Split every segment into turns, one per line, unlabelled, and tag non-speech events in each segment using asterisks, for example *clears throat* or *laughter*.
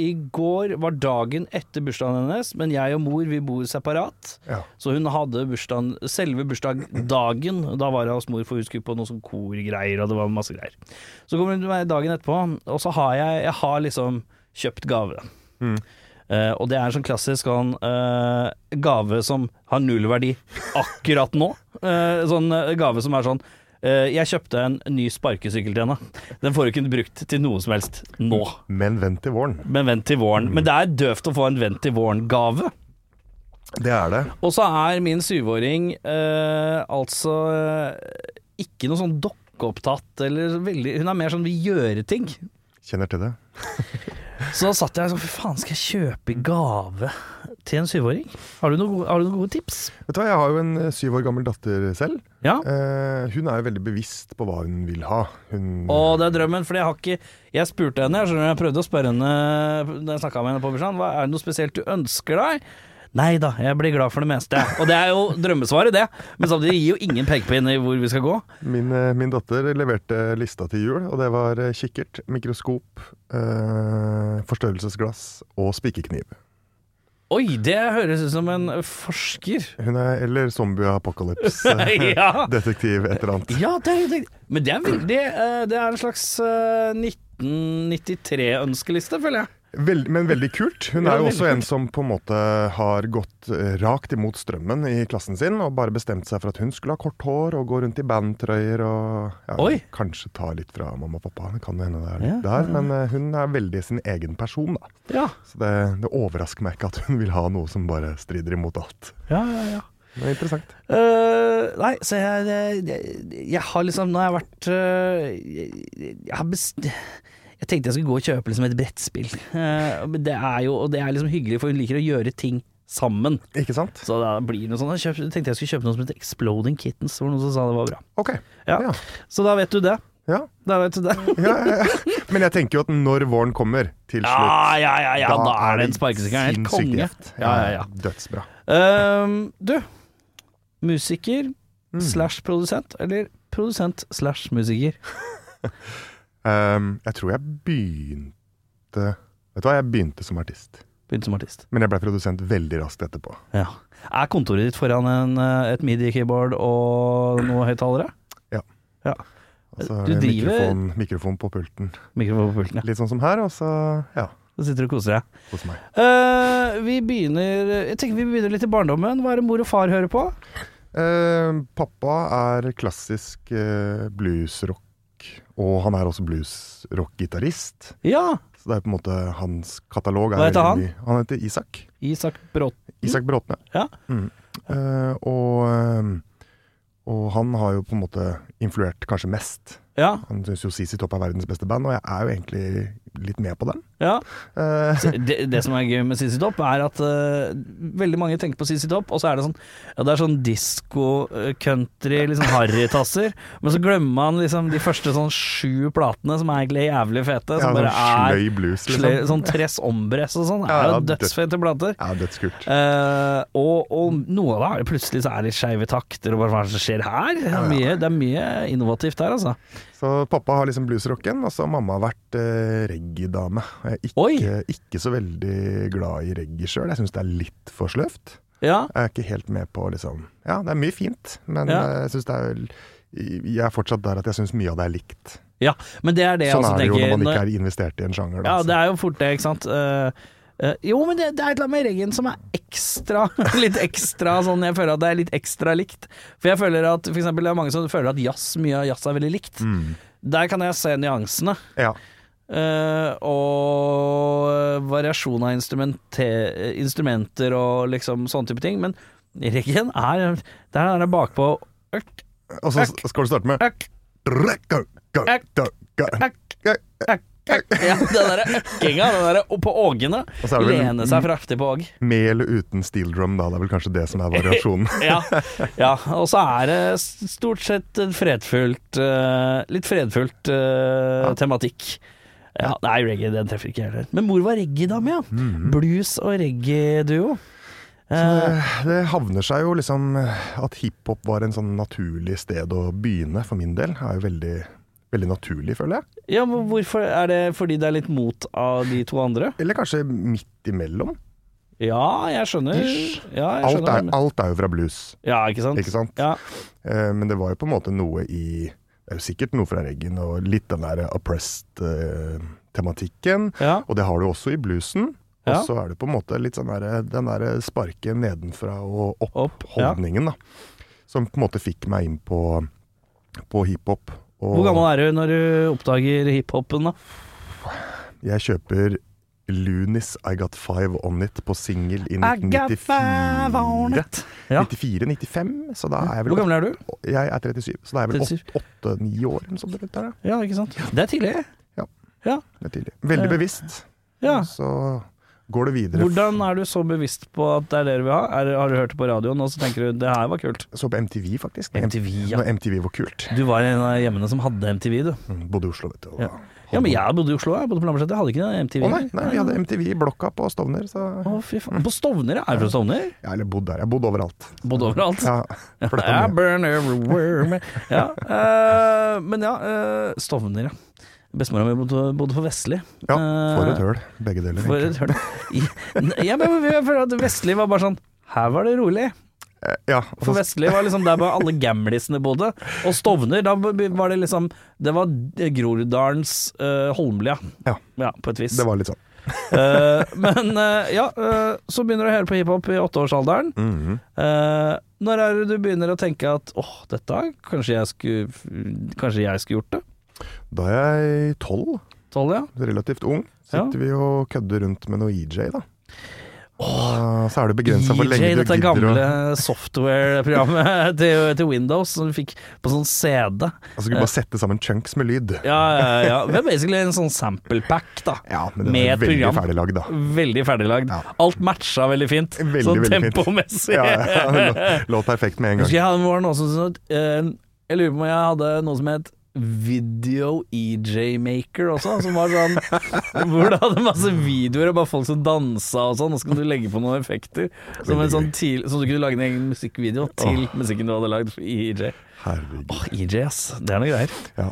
i går var dagen etter bursdagen hennes, men jeg og mor vi bor separat.
Ja.
Så hun hadde bursdagen, selve bursdagsdagen. Da var jeg hos mor, for hun skulle på noe sånn korgreier, og det var masse greier. Så kommer hun til meg dagen etterpå, og så har jeg, jeg har liksom kjøpt gave. Eh, og det er en sånn klassisk sånn, eh, gave som har null verdi akkurat nå. Eh, sånn eh, gave som er sånn eh, Jeg kjøpte en ny sparkesykkel til henne. Den får du ikke brukt til noe som helst nå.
Men vent til våren.
Men vent til våren. Men det er døvt å få en vent til våren-gave.
Det er det.
Og så er min syvåring eh, altså eh, ikke noe sånn dokkeopptatt eller veldig Hun er mer sånn vil gjøre ting.
Kjenner til det.
Så da satt jeg sånn, fy faen, skal jeg kjøpe gave til en syvåring? Har du noen gode, har du noen gode tips?
Vet du hva, Jeg har jo en eh, syv år gammel datter selv.
Ja.
Eh, hun er jo veldig bevisst på hva hun vil ha. Hun,
Og det er drømmen, for jeg har ikke Jeg spurte henne, jeg skjønner jeg prøvde å spørre henne da jeg snakka med henne på bursdagen, hva er det noe spesielt du ønsker deg? Nei da, jeg blir glad for det meste. jeg». Og det er jo drømmesvaret, det. Men samtidig gir jo ingen pekepinn i hvor vi skal gå.
min, eh, min datter leverte lista til jul, og det var eh, kikkert, mikroskop, eh, forstørrelsesglass og spikerkniv.
Oi, det høres ut som en forsker.
Hun er eller zombie apocalypse eh,
Ja.
detektiv, et eller annet.
*laughs* Ja, det er, det, men det er veldig eh, Det er en slags eh, 1993-ønskeliste, føler jeg.
Vel, men veldig kult. Hun
Ja,
er jo
veldig
også en som på en måte har gått eh, rakt imot strømmen i klassen sin, og bare bestemt seg for at hun skulle ha kort hår og gå rundt i bandtrøyer og ja,
Oi.
kanskje ta litt fra mamma og pappa. Det kan jo hende det er
Ja,
litt der, men eh, hun er veldig sin egen person, da.
Ja,
Så det, det overrasker meg ikke at hun vil ha noe som bare strider imot alt.
ja, ja, ja.
Det er interessant.
Eh, nei, så jeg, jeg, jeg har liksom Nå har jeg vært eh, jeg, jeg har best... Jeg tenkte jeg skulle gå og kjøpe liksom et brettspill. Eh, men det er jo Og det er liksom hyggelig, for hun liker å gjøre ting sammen.
Ikke sant?
Så da blir det noe sånt. Jeg kjøp- tenkte jeg skulle kjøpe noe som heter Exploding Kittens. Det var noen som sa det var bra.
OK.
Ja.
Ja.
Så da vet du det.
Ja.
Da vet du det.
Ja, ja, ja. Men jeg tenker jo at når våren kommer, til slutt
Ja, ja, ja, ja. Da, er det en sparkesykkel. Helt
sinnssykt
konge.
gjevt.
Ja, ja, ja.
Dødsbra.
Ehm, du, musiker
Mm.
slash produsent, eller produsent slash musiker.
Ehm, jeg tror jeg begynte Vet du hva, jeg begynte som artist.
Begynte som artist.
Men jeg ble produsent veldig raskt etterpå.
Ja. Er kontoret ditt foran en, eh, et midi-keyboard og noe høyttalere?
Altså,
Du driver-
mikrofon, mikrofon på pulten.
Mikrofon på pulten, ja.
Litt sånn som her, og så ja,
Så sitter du og koser deg.
hos meg.
Eh, vi begynner Jeg tenker vi begynner litt i barndommen. Hva er det mor og far hører på?
Ehm, pappa er klassisk eh, bluesrock, og han er også bluesrock-gitarist.
Ja,
Så det er på en måte hans katalog. er
Hva heter
veldig
han?
mye- Han heter Isak.
Isak Bråten.
Isak Bråtne.
Ja.
Mm. Eh, og, ehm, og han har jo på en måte influert kanskje mest
Ja,
Han syns jo CC Topp er verdens beste band, og jeg er jo egentlig litt med på den.
ja. *laughs*
Eh,
det, det som er gøy med CC Topp, er at eh, veldig mange tenker på CC Topp, og så er det sånn Ja, det er sånn disko, eh, country, liksom harrytasser, men så glemmer man liksom de første sånn sju platene som er egentlig jævlig fete,
ja,
som
sånn
bare er
sløy blues, liksom.
sløy, sånn Tress Ombres og sånn.
Ja,
Er jo
ja, død-
dødsfete plater.
Ja, dødskult.
Eh, og, og noe av det er det plutselig så er det skeive takter, og bare hva er det som skjer her? Det er mye, det er mye innovativt her, altså.
Så pappa har liksom bluesrocken, og så har mamma vært eh, reggae-dame. Jeg er
Oi!
Ikke, ikke så veldig glad i reggae sjøl, jeg syns det er litt for sløvt.
Ja.
Jeg er ikke helt med på liksom Ja, det er mye fint, men
Ja.
eh, jeg syns det er Jeg er fortsatt der at jeg syns mye av det er likt.
ja. Men det er det jeg
sånn
også
er det
tenker.
jo når man
når-
ikke er investert i en sjanger. Da,
Ja,
så-
det er jo fort det, ikke sant. Eh, eh, jo, men det, det er et eller annet med reggen som er ekstra *laughs* Litt ekstra sånn Jeg føler at det er litt ekstra likt. For jeg føler at for eksempel, det er mange som føler at jazz, mye av jazz er veldig likt.
Mm.
Der kan jeg se nyansene.
ja.
eh, og variasjon av instrumente- instrumenter og liksom sånne type ting. Men reggen er Der er det bakpå Økk,
Og så
Økk.
skal du starte med
økk,
Rekka, ga,
Økk.
da, ga.
økk, økk. Ja, den derre økkinga, den derre opp på ågene.
Og så er det vel
Lene seg fraftig på åg.
mel uten steel drum, da. Det er vel kanskje det som er variasjonen.
Ja, ja. og så er det stort sett en fredfullt eh, Litt fredfullt eh, tematikk. Ja, nei, reggae den treffer ikke jeg heller. Men hvor var reggae-dame, ja? Blues og reggae-duo. Eh,
Eh, Mhm. Det havner seg jo liksom at hiphop var en sånn naturlig sted å begynne, for min del. Er jo veldig, veldig naturlig, føler jeg.
ja, men hvorfor Er det fordi det er litt mot av de to andre?
Eller kanskje midt imellom.
Ja, jeg skjønner.
Ish.
Ja, jeg
Alt er,
skjønner.
alt er jo fra blues,
Ja, ikke sant?
ikke sant?
Ja.
Eh, Men det var jo på en måte noe i Det er jo sikkert noe fra reggaen og litt den der oppressed-tematikken.
ja.
Og det har du også i bluesen. Og
Ja.
så er det på en måte litt sånn der, den derre sparke nedenfra og
Opp, ja.
opp-holdningen, da. Som på en måte fikk meg inn på, på hiphop. Og
Hvor gammel er du når du oppdager hiphopen, da?
jeg kjøper Lunis I Got Five On It på singel i
I got five on
1994.
it. Ja.
94-95, så da er jeg
Hvor
vel
gammel er du?
Jeg er 37, så da er jeg
37.
vel 8-9 år eller noe sånt rundt der. ja.
Ja, ikke sant. Det er tidlig.
Det er tidlig. Veldig
Ja.
bevisst.
Eh, Ja.
Så går det videre.
Hvordan er du så bevisst på at det er det du vil ha? Er, har du hørt det på radioen, og så tenker du det her var kult?
Så på MTV, faktisk.
MTV, ja.
Når MTV var kult.
Du var en av hjemmene som hadde MTV, du.
Mm, Bodde i Oslo, vet du. og
Ja.
da-
Ja, men jeg bodde i Oslo, jeg bodde på Lambertseter. Jeg hadde ikke noe MTV.
Å nei, nei, vi hadde MTV i blokka på Stovner. Så
Å, fy faen. På Stovner, ja. Er du fra Stovner?
jeg har bodd der. Jeg har bodd overalt.
Bodd overalt.
Ja, flyttet
I
mye.
burn everywhere. man. Ja, eh, men ja, eh, Stovner, ja. Bestemora mi bodde, bodde på Vestli.
ja, for
Eh,
et høl. Begge deler.
For
egentlig.
et høl. I- Ja, men jeg føler at Vestli var bare sånn Her var det rolig.
Eh, Ja, og
For
så,
Vestli var liksom der bare alle gamlisene bodde. Og Stovner, da var det liksom Det var Groruddalens eh, Holmlia.
Ja.
på et vis.
det var litt sånn.
Eh, men eh, ja, eh, så begynner du å høre på hiphop i åtteårsalderen.
Mhm.
Eh, når er det du begynner å tenke at åh, dette er- kanskje jeg skulle Kanskje jeg skulle gjort det?
Da er jeg tolv,
Tolv, ja.
relativt ung.
Ja.
Sitter vi og kødder rundt med noe EJ, da. Ah, så er det begrensa hvor lenge
EJ,
du
E dette
gidder
gamle
å
software-programmet *laughs* til, til Windows som du fikk på sånn CD.
Altså, skulle bare sette sammen chunks med lyd.
Ja, ja, ja. *laughs* Det er basically en sånn sample pack, da.
Ja, men det
Med
er
et
veldig
program.
ferdiglagd,
*laughs*
da.
Veldig ferdiglagd.
Ja.
Alt matcha veldig fint,
Veldig,
sånn
veldig fint.
tempomessig.
Ja, ja, lå- lå perfekt med en gang.
Husker jeg hadde noe som sånn, Jeg lurer på om jeg hadde noe som het Video EJ Maker også, som var
*laughs*
sånn Hvor du hadde masse videoer og bare folk som dansa og sånn, og så kunne du legge på noen effekter. Som, en sånn til, som du kunne lage en egen musikkvideo til musikken du hadde lagd i EJ.
Herregud.
Åh, EJ, ass. Det er noe greier.
Ja.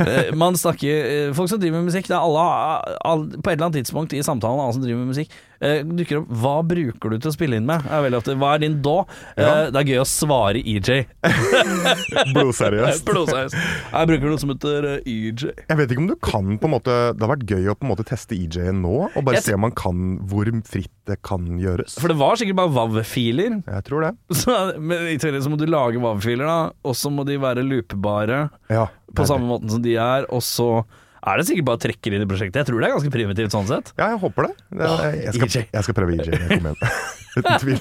Eh, Man snakker eh, Folk som driver med musikk, det er alle alle- På et eller annet tidspunkt i samtalen alle som driver med musikk, eh, dukker opp Hva bruker du til å spille inn med? Er veldig ofte, Hva er din da? Eh,
Ja.
Det er gøy å svare E EJ. *laughs*
Blodseriøst.
Blodsaus. Jeg bruker noe som heter eh, EJ.
Jeg vet ikke om du kan på en måte Det har vært gøy å på en måte teste EJ-en nå, og bare
Jeg-
se om man kan hvor fritt det kan gjøres.
For det var sikkert bare WAV-filer.
Jeg tror det.
*laughs* Så- Men i teorien så må du lage WAV-filer, da. Og så må de være loopbare
Ja, det
på
er
samme
det.
måten som de er. Og så er det sikkert bare trekker inn i prosjektet. Jeg tror det er ganske primitivt sånn sett.
Ja, jeg håper det. det
Åh,
jeg, skal,
EJ.
jeg skal prøve EJ. når jeg
*laughs*
kommer hjem. Uten tvil.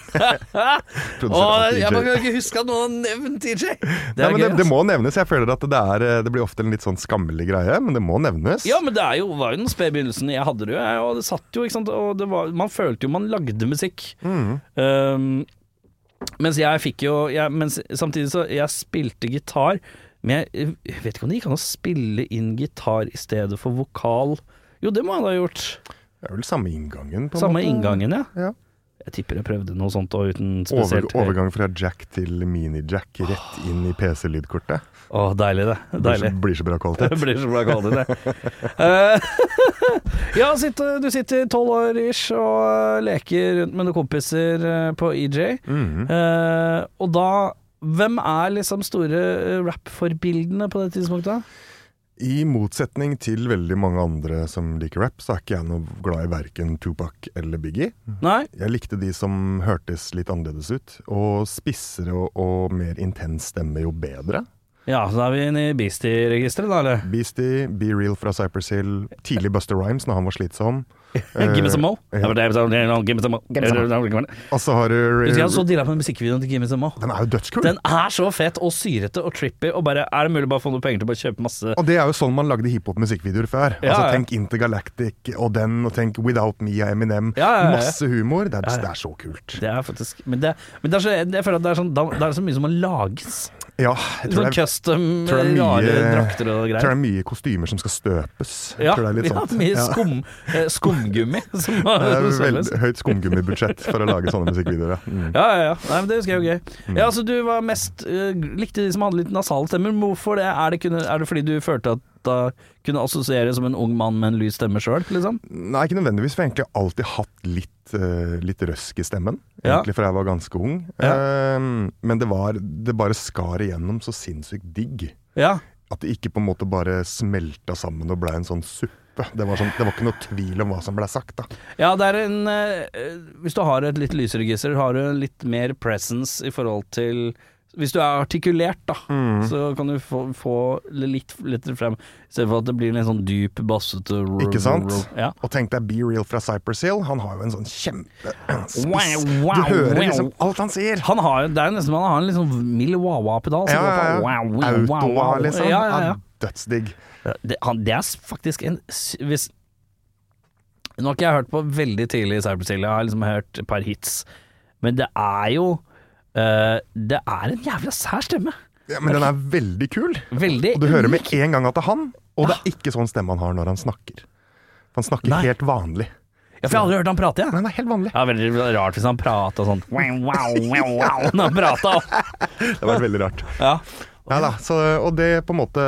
Åh,
Produsert
jeg
av
bare
EJ.
kan ikke huske at noen har nevnt DJ. Det
E Nei,
er
men
gøy.
det, det
ass.
må nevnes. Jeg føler at det, er, det blir ofte en litt sånn skammelig greie, men det må nevnes.
Ja, men det er jo, var jo den spede begynnelsen. Jeg hadde det jo, jeg, og det satt jo, ikke sant. Og det var, man følte jo man lagde musikk.
Mhm.
Um, mens jeg fikk jo jeg, mens, Samtidig så Jeg spilte gitar, men jeg, jeg vet ikke om det gikk an å spille inn gitar i stedet for vokal. Jo, det må jeg da ha gjort.
Det er vel samme inngangen, på en
Samme
måte.
inngangen, ja.
Ja.
Jeg tipper jeg prøvde noe sånt og uten
Over,
spesielt
overgang fra jack til mini-jack rett inn i PC-lydkortet.
Å, deilig, det.
Blir,
Deilig.
så- blir så bra kvalitet.
Det blir så bra kvalitet, det. Eh, *laughs* ja, sitte- du sitter tolv år ish og eh, leker rundt med noen kompiser eh, på EJ.
Mhm.
Eh, og da Hvem er liksom store eh, rap-forbildene på det tidspunktet?
I motsetning til veldig mange andre som liker rap, så er ikke jeg noe glad i verken Tupac eller Biggie.
Nei?
Jeg likte de som hørtes litt annerledes ut. Og spissere og, og mer intens stemme, jo bedre.
Ja, så da er vi inne i Beastie-registeret, da, eller?
Beastie, Be Real fra Cypress Hill, tidlig Buster Rhymes når han var slitsom. Eh,
Give me some more.
ja.
Ja, men det er sånn, det er noe, Give me some more.
Give me some
Og så har
Husker Jeg har så
du
dilla på den musikkvideoen til Give me some more.
Den er jo dødskul!
Den er så fet og syrete og trippy, og bare er det mulig å bare få noen penger til å bare kjøpe masse
Og det er jo sånn man lagde hiphop-musikkvideoer før.
Ja,
altså
ja.
Tenk Intergalactic og den, og tenk Without Me av Eminem.
Ja, ja, ja.
Masse humor. Det er,
Ja, ja.
det er så kult.
Det er faktisk Men, det, men det er så, jeg føler at det er, sånn, da- det er så mye som må lages.
Ja, jeg tror
Sånn
det er,
custom,
tror det er mye-
rare drakter og
jeg tror det
greier.
er mye kostymer som skal støpes. Jeg
Ja,
tror det er litt
ja,
sånt.
mye
Ja.
skum, eh, skumgummi
*laughs*
*laughs* som må
Det er
selges.
veldig høyt skumgummibudsjett for å lage sånne musikkvideoer. ja. Mm.
Ja, ja, ja. Nei, men det husker jeg jo gøy. Ja, altså, du var mest eh, likte de som hadde litt nasale stemmer. Men Hvorfor det? Er det, kunne, er det fordi du følte at da kunne assosiere som en ung mann med en lys stemme sjøl, liksom?
Nei, ikke nødvendigvis, for jeg har egentlig alltid hatt litt, eh, litt røsk i stemmen.
Ja.
Egentlig fra jeg var ganske ung. Eh, men det, var, det bare skar igjennom så sinnssykt digg.
Ja.
At det ikke på en måte bare smelta sammen og blei en sånn suppe. Det var, sånn, det var ikke noe tvil om hva som blei sagt, da.
ja, det er en eh, eh, Hvis du har et litt lysere gisser, har du litt mer presence i forhold til hvis du er artikulert, da,
Mm.
så kan du få, få litt lettere frem. Istedenfor at det blir en sånn dyp, bassete
Ikke sant?
Ja.
Og tenk deg Be Real fra Cypress Hill. Han har jo en sånn *clears throat* kjempespiss
Wow, wow,
Du hører liksom
wow.
alt han sier!
Han har, jo- det er jo nesten som han har en litt sånn mild wah-wah-pedal.
Ja,
som går på
ja, ja.
wow, wow, wow,
Autoa,
wow.
liksom.
Ja, ja, ja.
Dødsdigg.
Det, han, det er s- faktisk en s- hvis, Nå har ikke jeg hørt på veldig tidlig i Cypress Hill, jeg har liksom hørt et par hits. Men det er jo eh, Det er en jævla sær stemme.
Ja, men den er veldig kul.
Veldig.
Og du hører med en gang at det er han, og det er ikke sånn stemme han har når han snakker. Han snakker
Nei.
helt vanlig.
Ja, for jeg har aldri hørt han prate, jeg.
Nei, det er helt vanlig.
Ja, veldig rart hvis han prata sånn wow, wow, wow, wow, *laughs* Når han prata.
Det var veldig rart.
Ja.
Nei da, så, og det på en måte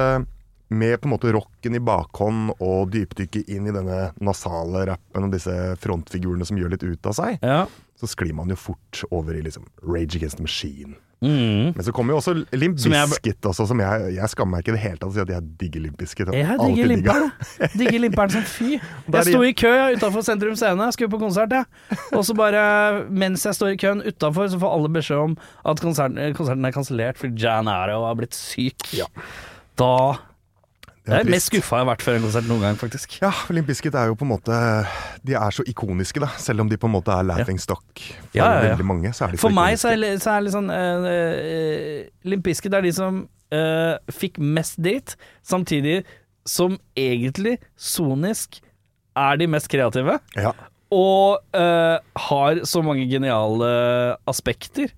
med på en måte rocken i bakhånd og dypdykket inn i denne nasale rappen og disse frontfigurene som gjør litt ut av seg,
ja.
så sklir man jo fort over i liksom Rage Against the Machine.
Mm.
Men så kommer jo også Limp
Som jeg-
Bizkit også, som jeg, jeg skammer meg ikke i det hele tatt å si at jeg digger Limp Bizkit.
Jeg digger Limper'n. jeg. Digger Limper'n som fy.
*laughs* Der
Jeg sto i kø utafor Sentrum Scene, jeg skulle på konsert, jeg. Og så bare, mens jeg står i køen utafor, så får alle beskjed om at konserten, eh, konserten er kansellert fordi Jan Arrow har blitt syk.
Ja.
Da Det er,
trist.
det mest skuffa jeg har vært før en konsert noen gang, faktisk.
Ja, for Limp Bizkit er jo på en måte De er så ikoniske, da. Selv om de på en måte er laughing stock for
Ja, ja, ja.
veldig mange. så er de
For meg så er,
ikoniske.
så er det litt sånn eh, eh, Limp Bizkit er de som eh, fikk mest dit, samtidig som egentlig sonisk er de mest kreative.
ja.
Og eh, har så mange geniale aspekter.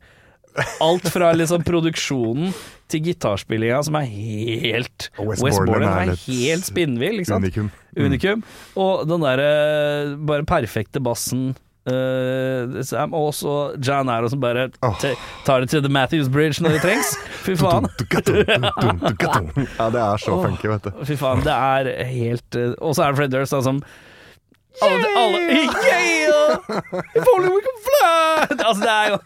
Alt fra liksom produksjonen til gitarspillinga, som er helt
Og Wes
Wes
Borland
Borland
er
er
litt
helt spinnvill, ikke sant?
Unikum. Mm.
Unikum. Og den derre bare perfekte bassen. eh, Sam, og også Jan Arrow som bare
Åh.
te- tar det til The Matthews Bridge når det trengs.
*laughs*
Fy faen. *laughs*
Ja, det er så funky, vet du.
Fy faen, det er helt eh, Og så er det Fred Durst, da, som alle, alle, *laughs* yeah! If only we can fly! *laughs* Altså, det er jo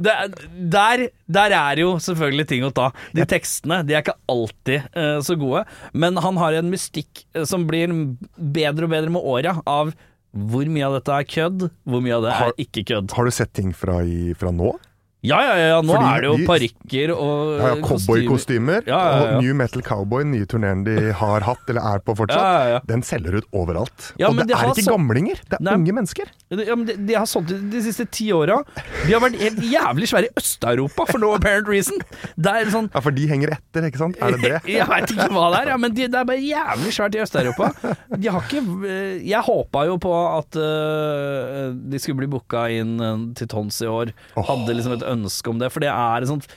det er, der, der er jo selvfølgelig ting å ta. De tekstene de er ikke alltid eh, så gode, men han har en mystikk eh, som blir bedre og bedre med åra, av hvor mye av dette er kødd, hvor mye av det
Har-
er ikke kødd.
Har du sett ting fra, i, fra nå?
Ja, ja, ja, ja, nå
Fordi
er det jo
de-
parykker og
Ja, ja,
eh, kostymer.
Cowboykostymer.
Ja, ja, ja.
Og New Metal Cowboy, den nye turneen de har hatt, eller er på fortsatt,
Ja, ja, ja.
den selger ut overalt.
Ja,
og
men
det
de
er
har
ikke
så-
gamlinger, det er
Nei.
unge mennesker.
Ja, men de, de har solgt ut de siste ti åra. De har vært helt jævlig svære i Øst-Europa, for no apparent reason. Det er sånn
Ja, For de henger etter, ikke sant?
*laughs*
Er det det?
Jeg veit ikke hva det er, ja, men de, det er bare jævlig svært i Øst-Europa. De har ikke eh, Jeg håpa jo på at eh, de skulle bli booka inn eh, til Tons i år. Hadde liksom et ønske om det, for det er et sånt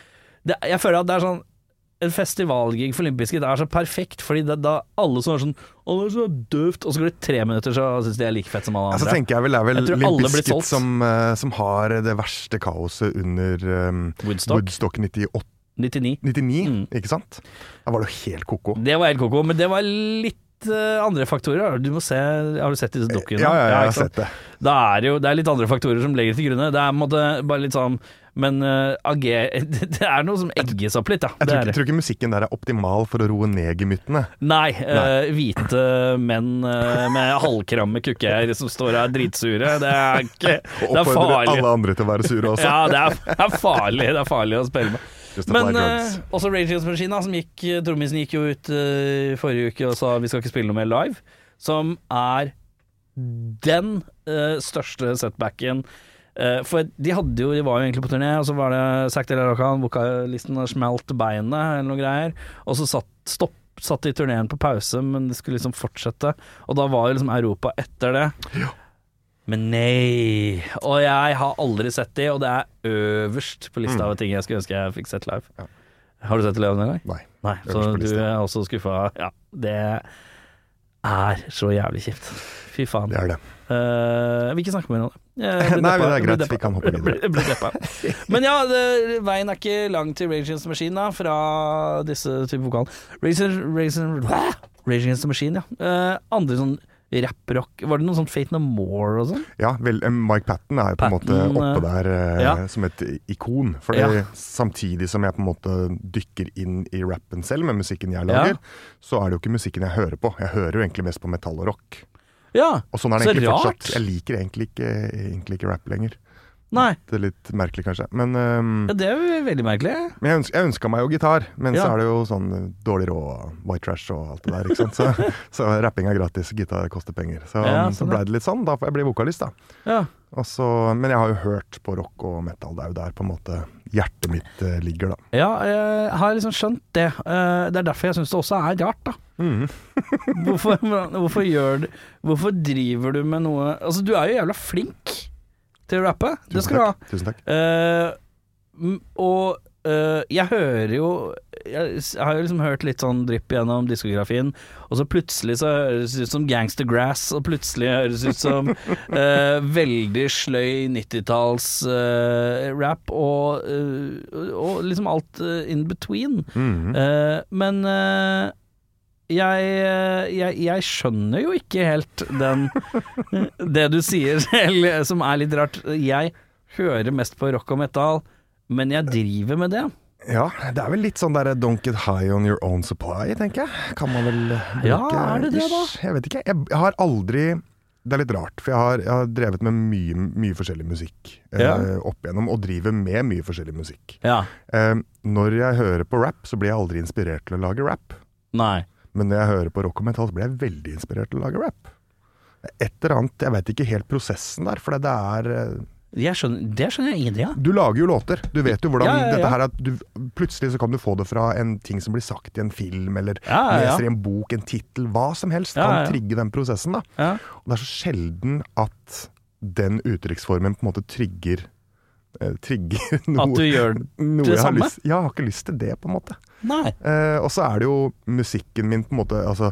det, Jeg føler at det er sånn en festivalgig for Limp Bizkit er så perfekt, fordi det, da alle som er sånn Å, det er så døvt, og så går det tre minutter, så syns de er like fett som alle
Ja, så
andre.
tenker jeg vel det er vel
Jeg tror alle
Limp
blir
Bizkit
solgt.
som, eh, som har det verste kaoset under um,
Woodstock. Mm.
Woodstock 98,
99.
99, ikke sant? Da var det jo helt koko.
Det var helt koko, men det var litt eh, andre faktorer. Du må se, har du sett disse dukkene?
Ja, ja, ja, jeg har
ikke sant?
sett det.
Da er det jo det er litt andre faktorer som legger til grunne. Det er på en måte bare litt sånn Men eh, AG *laughs* Det er noe som egges opp litt, ja. Det
Jeg
er
tror, ikke, jeg
det.
tror ikke musikken der er optimal for å roe ned gemyttene.
Nei. eh, hvite menn eh, med halvkramme kukkeier som står her dritsure. Det er ikke
*laughs* Og
Det er
oppfordre
farlig.
alle andre til å være sure også.
Ja, det er, det er farlig. Det er farlig å spille med.
Just
Men
apply drugs.
eh, også Rage Against the Machine, da, som gikk eh, Trommisen gikk jo ut eh, forrige uke og sa vi skal ikke spille noe mer live. Som er den eh, største setbacken. Eh, for de hadde jo De var jo egentlig på turné, og så var det Zack Del Arakan, vokalisten, og smalt beinet eller noe greier. Og så satt, stopp, satt de turneen på pause, men det skulle liksom fortsette. Og da var jo liksom Europa etter det. Men nei. Og jeg har aldri sett de, og det er øverst på lista av ting jeg skulle ønske jeg fikk sett live.
Mm. Ja.
Har du sett det live noen gang?
Nei.
Nei, så
Øverst på
du
lista.
er også skuffa. Ja, det er så jævlig kjipt. Fy faen.
Det er det.
Eh, jeg vil ikke snakke mer om det. Jeg
*laughs*
blir
Nei, men
deppa.
det er
Jeg blir
greit. Vi
deppa.
kan hoppe
*laughs* Jeg blir-
videre.
jeg blir
*laughs*
deppa. Men ja, det, veien er ikke lang til Rage Against the Machine da, fra disse type vokalene. Rage, Rage, Rage Against the Machine, ja. Eh, andre sånn rapprock Var det noe sånn Fate No More og sånn?
Ja, vel, eh, Mike Patten er jo på en måte
Patton,
oppe
eh,
der eh,
ja.
som et ikon. For
Ja.
samtidig som jeg på en måte dykker inn i rappen selv med musikken jeg
Ja.
lager, så er det jo ikke musikken jeg hører på. Jeg hører jo egentlig mest på metall og rock.
Ja,
Og sånn er
Så
det egentlig
rart.
fortsatt. Jeg liker egentlig ikke, egentlig ikke rap lenger.
nei.
Det er litt merkelig, kanskje. Men, ehm,
Ja, det er jo veldig merkelig.
men jeg, øns jeg ønska meg jo gitar, men
Ja.
så er det jo sånn eh, dårlig råd og white trash og alt det der.
*laughs*
Ikke sant? Så, så rapping er gratis, gitar koster penger. Så,
Ja,
så
sånn,
blei det litt sånn. Da får jeg bli vokalist, da.
Ja.
Og så- men jeg har jo hørt på rock og metal. Det er jo der på en måte hjertet mitt eh, ligger, da.
Ja, jeg har liksom skjønt det. Eh, Det er derfor jeg syns det også er rart, da. Mm. hvorfor, *laughs* hvorfor gjør du Hvorfor driver du med noe Altså, du er jo jævla flink til å rappe. Det skal du ha.
Tusen takk.
Eh, m- og eh, jeg hører jo jeg, s- jeg har jo liksom hørt litt sånn drypp gjennom diskografien, og så plutselig så høres det ut som Gangster Grass, og plutselig høres det ut som eh, veldig sløy 90-talls eh, rap, og, eh, og liksom alt eh, in between.
Mhm.
Eh, men eh, jeg, eh, jeg, jeg skjønner jo ikke helt den *laughs* Det du sier *laughs* selv, eh, som er litt rart. Jeg hører mest på rock og metal, men jeg driver med det.
Ja, det er vel litt sånn der don't get high on your own supply, tenker jeg. Kan man vel bruke
Ja, er det det da?
ish? Jeg vet ikke. Jeg, jeg har aldri Det er litt rart, for jeg har, jeg har drevet med mye, mye forskjellig musikk eh,
Ja.
opp igjennom, og driver med mye forskjellig musikk.
Ja.
Eh, når jeg hører på rap, så blir jeg aldri inspirert til å lage rap.
Nei.
Men når jeg hører på rock og metal, så blir jeg veldig inspirert til å lage rap. Et eller annet Jeg veit ikke helt prosessen der, for det er eh,
Jeg skjønner, det skjønner jeg ingenting av.
du lager jo låter. Du vet jo hvordan
Ja, ja, ja.
dette her at du, Plutselig så kan du få det fra en ting som blir sagt i en film, eller
Ja, ja, ja.
leser i en bok, en tittel, hva som helst.
Ja, ja, ja.
Kan trigge den prosessen, da.
Ja.
Og det er så sjelden at den uttrykksformen på en måte trigger eh, Trigger *laughs* noe,
At du gjør
noe
det
jeg har
samme?
lyst Ja, jeg har ikke lyst til det, på en måte.
Nei.
Eh, og så er det jo musikken min på en måte altså,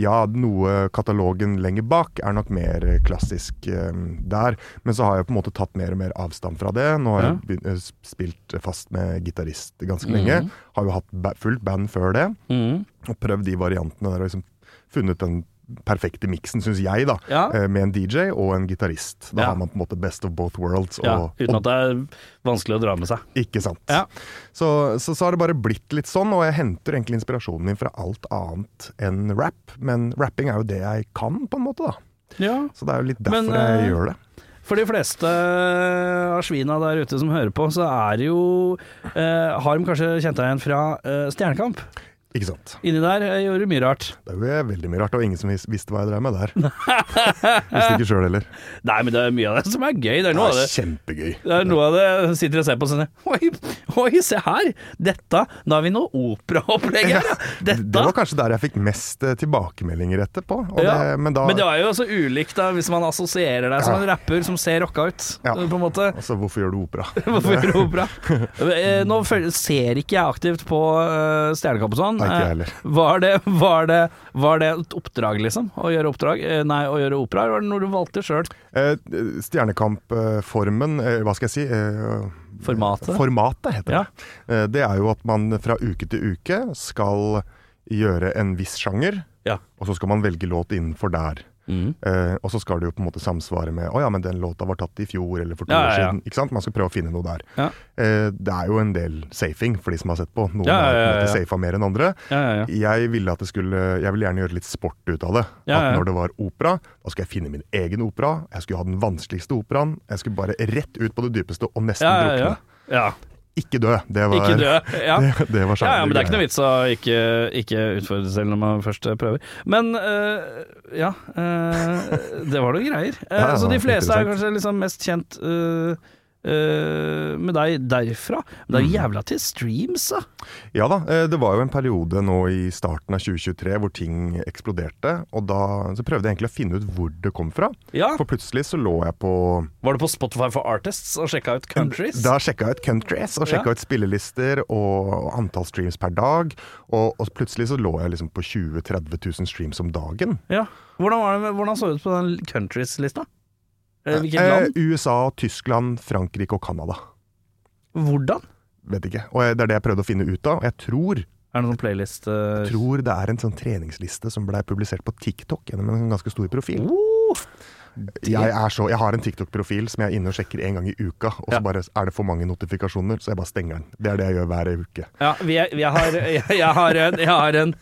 Ja, noe katalogen lenger bak er nok mer eh, klassisk eh, der. Men så har jeg på en måte tatt mer og mer avstand fra det. Nå har
Ja.
jeg begynt, eh, spilt fast med gitarist ganske lenge.
Mhm.
Har jo hatt ba fullt band før det.
Mm.
Og prøvd de variantene der og liksom funnet den perfekte miksen, syns jeg, da.
Ja.
eh, Med en DJ og en gitarist.
Ja.
Da har man på en måte best of both worlds.
ja.
Og,
Uten at det er vanskelig å dra med seg.
ikke sant.
Ja.
Så, så, så har det bare blitt litt sånn, og jeg henter egentlig inspirasjonen min fra alt annet enn rap. Men rapping er jo det jeg kan, på en måte, da.
Ja.
Så det er jo litt derfor
Men, eh,
jeg gjør det.
For de fleste eh, av svina der ute som hører på, så er det jo eh, Har de kanskje kjent deg igjen fra eh, Stjernekamp?
Ikke sant.
Inni der eh, gjorde du mye rart.
Det er jo veldig mye rart, og ingen som vis- visste hva jeg drev med
*laughs*
der. Visste ikke sjøl heller.
Nei, men det er mye av det som er gøy. Det er
Det
noe av
er
det.
kjempegøy.
Det er noe av det jeg sitter og ser på og sånn Oi, oi, se her! Dette Da har vi noe operaopplegg her! ja.
Det *laughs* det
Dette!
var kanskje der jeg fikk mest eh, tilbakemeldinger etterpå. Og
Ja,
det, men da
Men det er jo også ulikt da hvis man assosierer deg som en rapper som ser rocka ut,
Ja.
på en måte. *laughs*
Altså, hvorfor gjør du opera?
Hvorfor
*laughs*
gjør du opera? Eh, Nå føl- ser ikke jeg aktivt på eh, Stjernekamp og sånn.
Nei, ikke jeg
Eh,
heller.
Var det, var, det, var det et oppdrag, liksom? Å gjøre oppdrag? Eh, Nei, å gjøre opera? Eller var det noe du valgte sjøl?
Eh, Stjernekamp-formen, eh, hva skal jeg si eh,
Formatet?
Formatet heter
Ja.
det. Eh, Det er jo at man fra uke til uke skal gjøre en viss sjanger,
Ja.
og så skal man velge låt innenfor der.
Mm.
Eh, og så skal det jo på en måte samsvare med Å ja, men den låta var tatt i fjor eller for to
Ja, ja,
år
ja.
siden. Ikke sant? Man skal prøve å finne noe der.
Ja.
Eh, det er jo en del safing for de som har sett på. Noen
Ja, ja,
har på en
ja,
måte
ja.
safa mer enn andre.
Ja, ja, ja.
Jeg ville at det skulle Jeg ville gjerne gjøre litt sport ut av det.
Ja, ja.
At når det var opera, da skulle jeg finne min egen opera. Jeg skulle ha den vanskeligste operaen. Jeg skulle bare rett ut på det dypeste og nesten
Ja, ja, ja.
drukne.
ja.
Ikke dø. Det var,
Ikke dø. Ja.
*laughs* Det, det var
Ja, ja, men det er ikke noe
greia.
vits å ikke, ikke utfordre seg selv når man først eh, prøver. Men øh, ja øh, Det var noen
*laughs*
greier. Eh,
Ja, ja,
så de
det var
fleste er
interessant.
kanskje liksom mest kjent øh, øh, med deg derfra. Men det
Mm.
er jo jævla til streams, da.
Ja da, eh, det var jo en periode nå i starten av 2023 hvor ting eksploderte. Og da så prøvde jeg egentlig å finne ut hvor det kom fra.
Ja.
For plutselig så lå jeg på
Var du på Spotify for Artists og sjekka ut Countries?
Da sjekka jeg ut countries og sjekka
Ja.
ut spillelister og, og antall streams per dag. Og, og plutselig så lå jeg liksom på 20 000-30 000 streams om dagen.
Ja. Hvordan, var det, med- hvordan så det ut på den Countries-lista? Eh, Hvilket
Eh,
land?
USA, Tyskland, Frankrike og Canada.
Hvordan?
Vet ikke. Og jeg- det er det jeg prøvde å finne ut av. Og jeg tror,
Er det noen playlist øh,
tror det er en sånn treningsliste som blei publisert på TikTok gjennom en ganske stor profil.
oh,
Jeg, er så, jeg har en TikTok-profil som jeg er inne og sjekker en gang i uka, og så
Ja.
bare er det for mange notifikasjoner, så jeg bare stenger den. Det er det jeg gjør hver uke.
Ja, vi, er, vi har, *laughs* jeg, jeg har en, jeg har en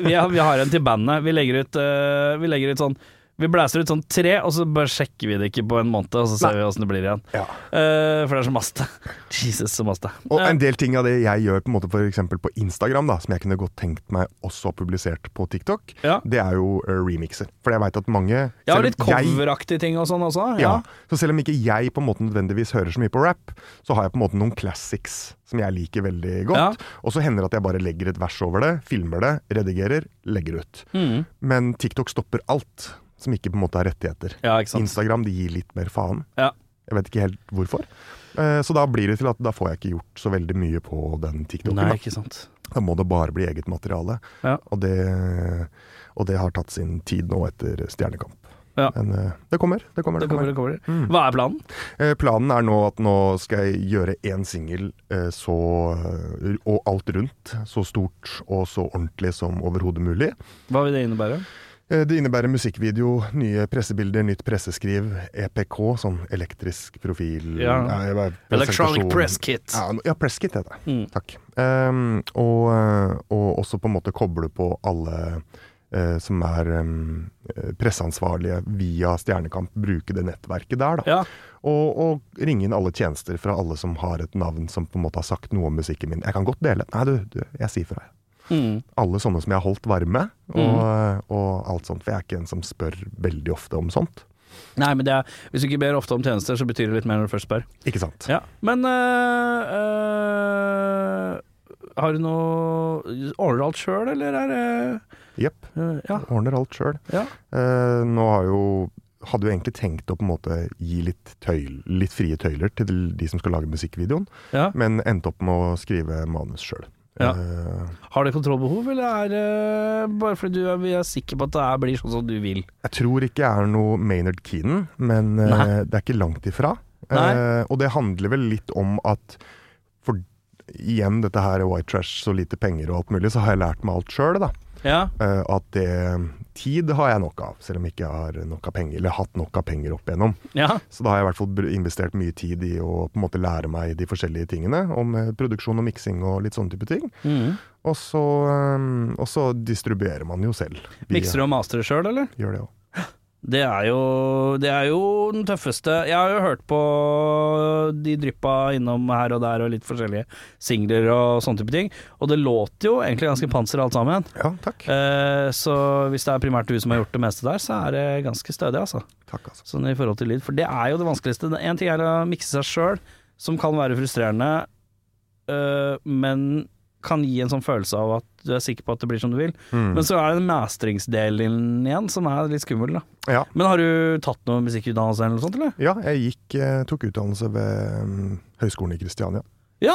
vi, har, vi har en til bandet. Vi legger ut, eh, vi legger ut sånn Vi blæser ut sånn tre, og så bare sjekker vi det ikke på en måned, og så ser vi åssen det blir igjen.
Ja.
Eh, for det er så masse. *laughs* Jesus, så masse.
Og
Eh,
en del ting av det jeg gjør på, en måte for eksempel på Instagram, da, som jeg kunne godt tenkt meg også publisert på TikTok,
Ja.
det er jo eh, remixer. For jeg veit at mange
jeg har
selv
litt
om jeg-
coveraktige ting og sånn også. Ja.
Ja. Så selv om ikke jeg på en måte nødvendigvis hører så mye på rap, så har jeg på en måte noen classics som jeg liker veldig godt. Og så hender det at jeg bare legger et vers over det, filmer det, redigerer, legger ut.
Mm.
Men TikTok stopper alt som ikke på en måte er rettigheter.
ja, ikke sant.
Instagram de gir litt mer faen.
Ja.
Jeg vet ikke helt hvorfor. Eh, Så da blir det til at da får jeg ikke gjort så veldig mye på den TikToken.
Nei,
da.
ikke sant.
Da må det bare bli eget materiale.
Ja.
Og, det, og det har tatt sin tid nå etter Stjernekamp.
Ja.
Men eh, det kommer. det kommer,
Det
det
kommer,
kommer.
det kommer.
Mm.
Hva er planen?
Eh, Planen er nå at nå skal jeg gjøre én singel eh, så eh, Og alt rundt. Så stort og så ordentlig som overhodet mulig.
Hva vil det innebære?
Eh, Det innebærer musikkvideo, nye pressebilder, nytt presseskriv, EPK, sånn elektrisk profil
Ja.
Nei, hva er-
Electronic
presentasjon.
Press Kit.
Ja, no- ja presskit heter det.
Mm.
Takk. Ehm, og, eh, og også på en måte koble på alle eh, som er em, eh, presseansvarlige via Stjernekamp, bruke det nettverket der, da.
Ja.
Og, og ringe inn alle tjenester fra alle som har et navn som på en måte har sagt noe om musikken min. Jeg kan godt dele. Nei, du, du jeg sier fra.
Mm.
Alle sånne som jeg har holdt varme, og,
Mhm.
og alt sånt. For jeg er ikke en som spør veldig ofte om sånt.
Nei, men det er, hvis du ikke ber ofte om tjenester, så betyr det litt mer når du først spør.
Ikke sant?
Ja, men øh, øh, Har du noe Ordner du alt sjøl, eller er det
Jepp.
øh, Ja.
Ordner alt sjøl.
ja.
Eh, nå har jo hadde jo egentlig tenkt å på en måte gi litt, tøyl, litt frie tøyler til de som skal lage musikkvideoen,
ja.
men endte opp med å skrive manus Eh, sjøl.
Ja. Har du kontrollbehov, eller er det bare fordi du er, vi er sikker på at det her blir sånn som du vil?
Jeg tror ikke jeg er noe Maynard Keenan, men eh,
Nei.
det er ikke langt ifra.
Nei.
Eh, og det handler vel litt om at for igjen dette her white trash, så lite penger og alt mulig, så har jeg lært meg alt sjøl, da.
Ja.
Eh, at det Tid har jeg nok av, selv om jeg ikke har nok av penger, eller hatt nok av penger opp igjennom.
ja.
Så da har jeg i hvert fall br- investert mye tid i å på en måte lære meg de forskjellige tingene, om eh, produksjon og miksing og litt sånne type ting.
Mm.
Og så, eh, og så distribuerer man jo selv. via-
Mikser du og masterer sjøl, eller?
Gjør det også.
Det er, jo, det er jo den tøffeste Jeg har jo hørt på de dryppa innom her og der, og litt forskjellige singler og sånne type ting. Og det låter jo egentlig ganske panser alt sammen.
Ja, takk.
Eh, Så hvis det er primært du som har gjort det meste der, så er det ganske stødig, altså.
Takk, altså.
Sånn i forhold til lyd. For det er jo det vanskeligste. Det- En ting er å mikse seg sjøl, som kan være frustrerende, eh, men kan gi en sånn følelse av at du er sikker på at det blir som du vil.
Mm.
Men så er det den mestringsdelen igjen som er litt skummel, da.
Ja.
Men har du tatt noe musikkutdannelse eller noe sånt, eller?
Ja, jeg gikk, eh, tok utdannelse ved mm, Høgskolen i Kristiania.
Ja,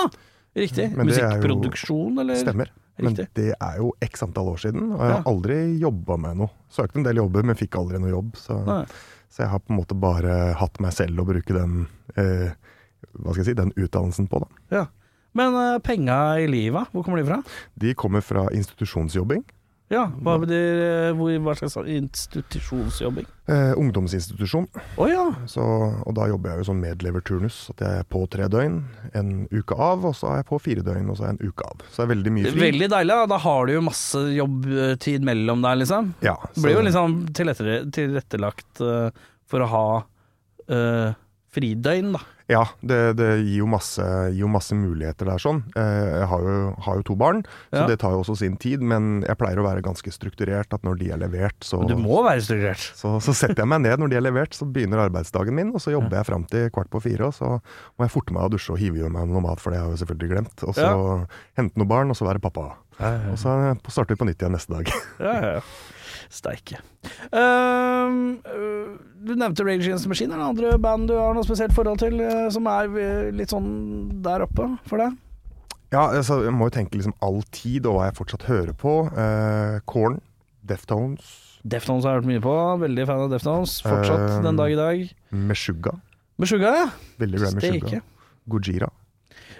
riktig.
Men det er jo-
Musikkproduksjon, eller?
Stemmer. Men
Riktig.
det er jo x antall år siden, og jeg har
Ja.
aldri jobba med noe. Søkte en del jobber, men fikk aldri noe jobb. Så,
Nei.
så jeg har på en måte bare hatt meg selv å bruke den, eh, hva skal jeg si, den utdannelsen på. Da.
Ja. Men uh, penga i livet, hvor kommer de fra?
De kommer fra institusjonsjobbing.
Ja, hva, betyr, eh, hvor, hva slags institusjonsjobbing?
Eh, ungdomsinstitusjon.
Å ja.
Så, og da jobber jeg jo sånn medleverturnus. At jeg er på tre døgn, en uke av, og så er jeg på fire døgn, og så er jeg en uke av. Så det er veldig mye fri.
Veldig deilig. Da, da har du jo masse jobbtid mellom deg, liksom.
Ja,
Det blir
så-
jo liksom tilrettere- tilrettelagt eh, for å ha eh, fridøgn, da.
Ja, det, det gir, jo masse, gir jo masse muligheter der sånn. Eh, Jeg har jo, har jo to barn, så
Ja.
det tar jo også sin tid. Men jeg pleier å være ganske strukturert, at når de er levert, så,
Du må være strukturert.
så, så setter jeg meg ned. Når de er levert, så begynner arbeidsdagen min, og så jobber jeg fram til kvart på fire. Og så må jeg forte meg å dusje og hive i meg noe mat, for det har jeg jo selvfølgelig glemt. Og så hente noen barn, og så være pappa. Og så eh, starter vi på nytt igjen neste dag. *laughs*
Ja, ja, ja. Steike. Ehm, øh, du nevnte Rage Against the Machine. Er det andre band du har noe spesielt forhold til, eh, som er eh, litt sånn der oppe for deg?
Ja, altså, jeg må jo tenke liksom all tid, og hva jeg fortsatt hører på. Eh, Korn, Deftones,
Deftones har jeg hørt mye på. Veldig fan av Deftones. Fortsatt
Ehm.
den dag i dag.
Meshuggah.
Meshuggah, ja.
Veldig glad i Meshuggah.
Steike.
Gojira.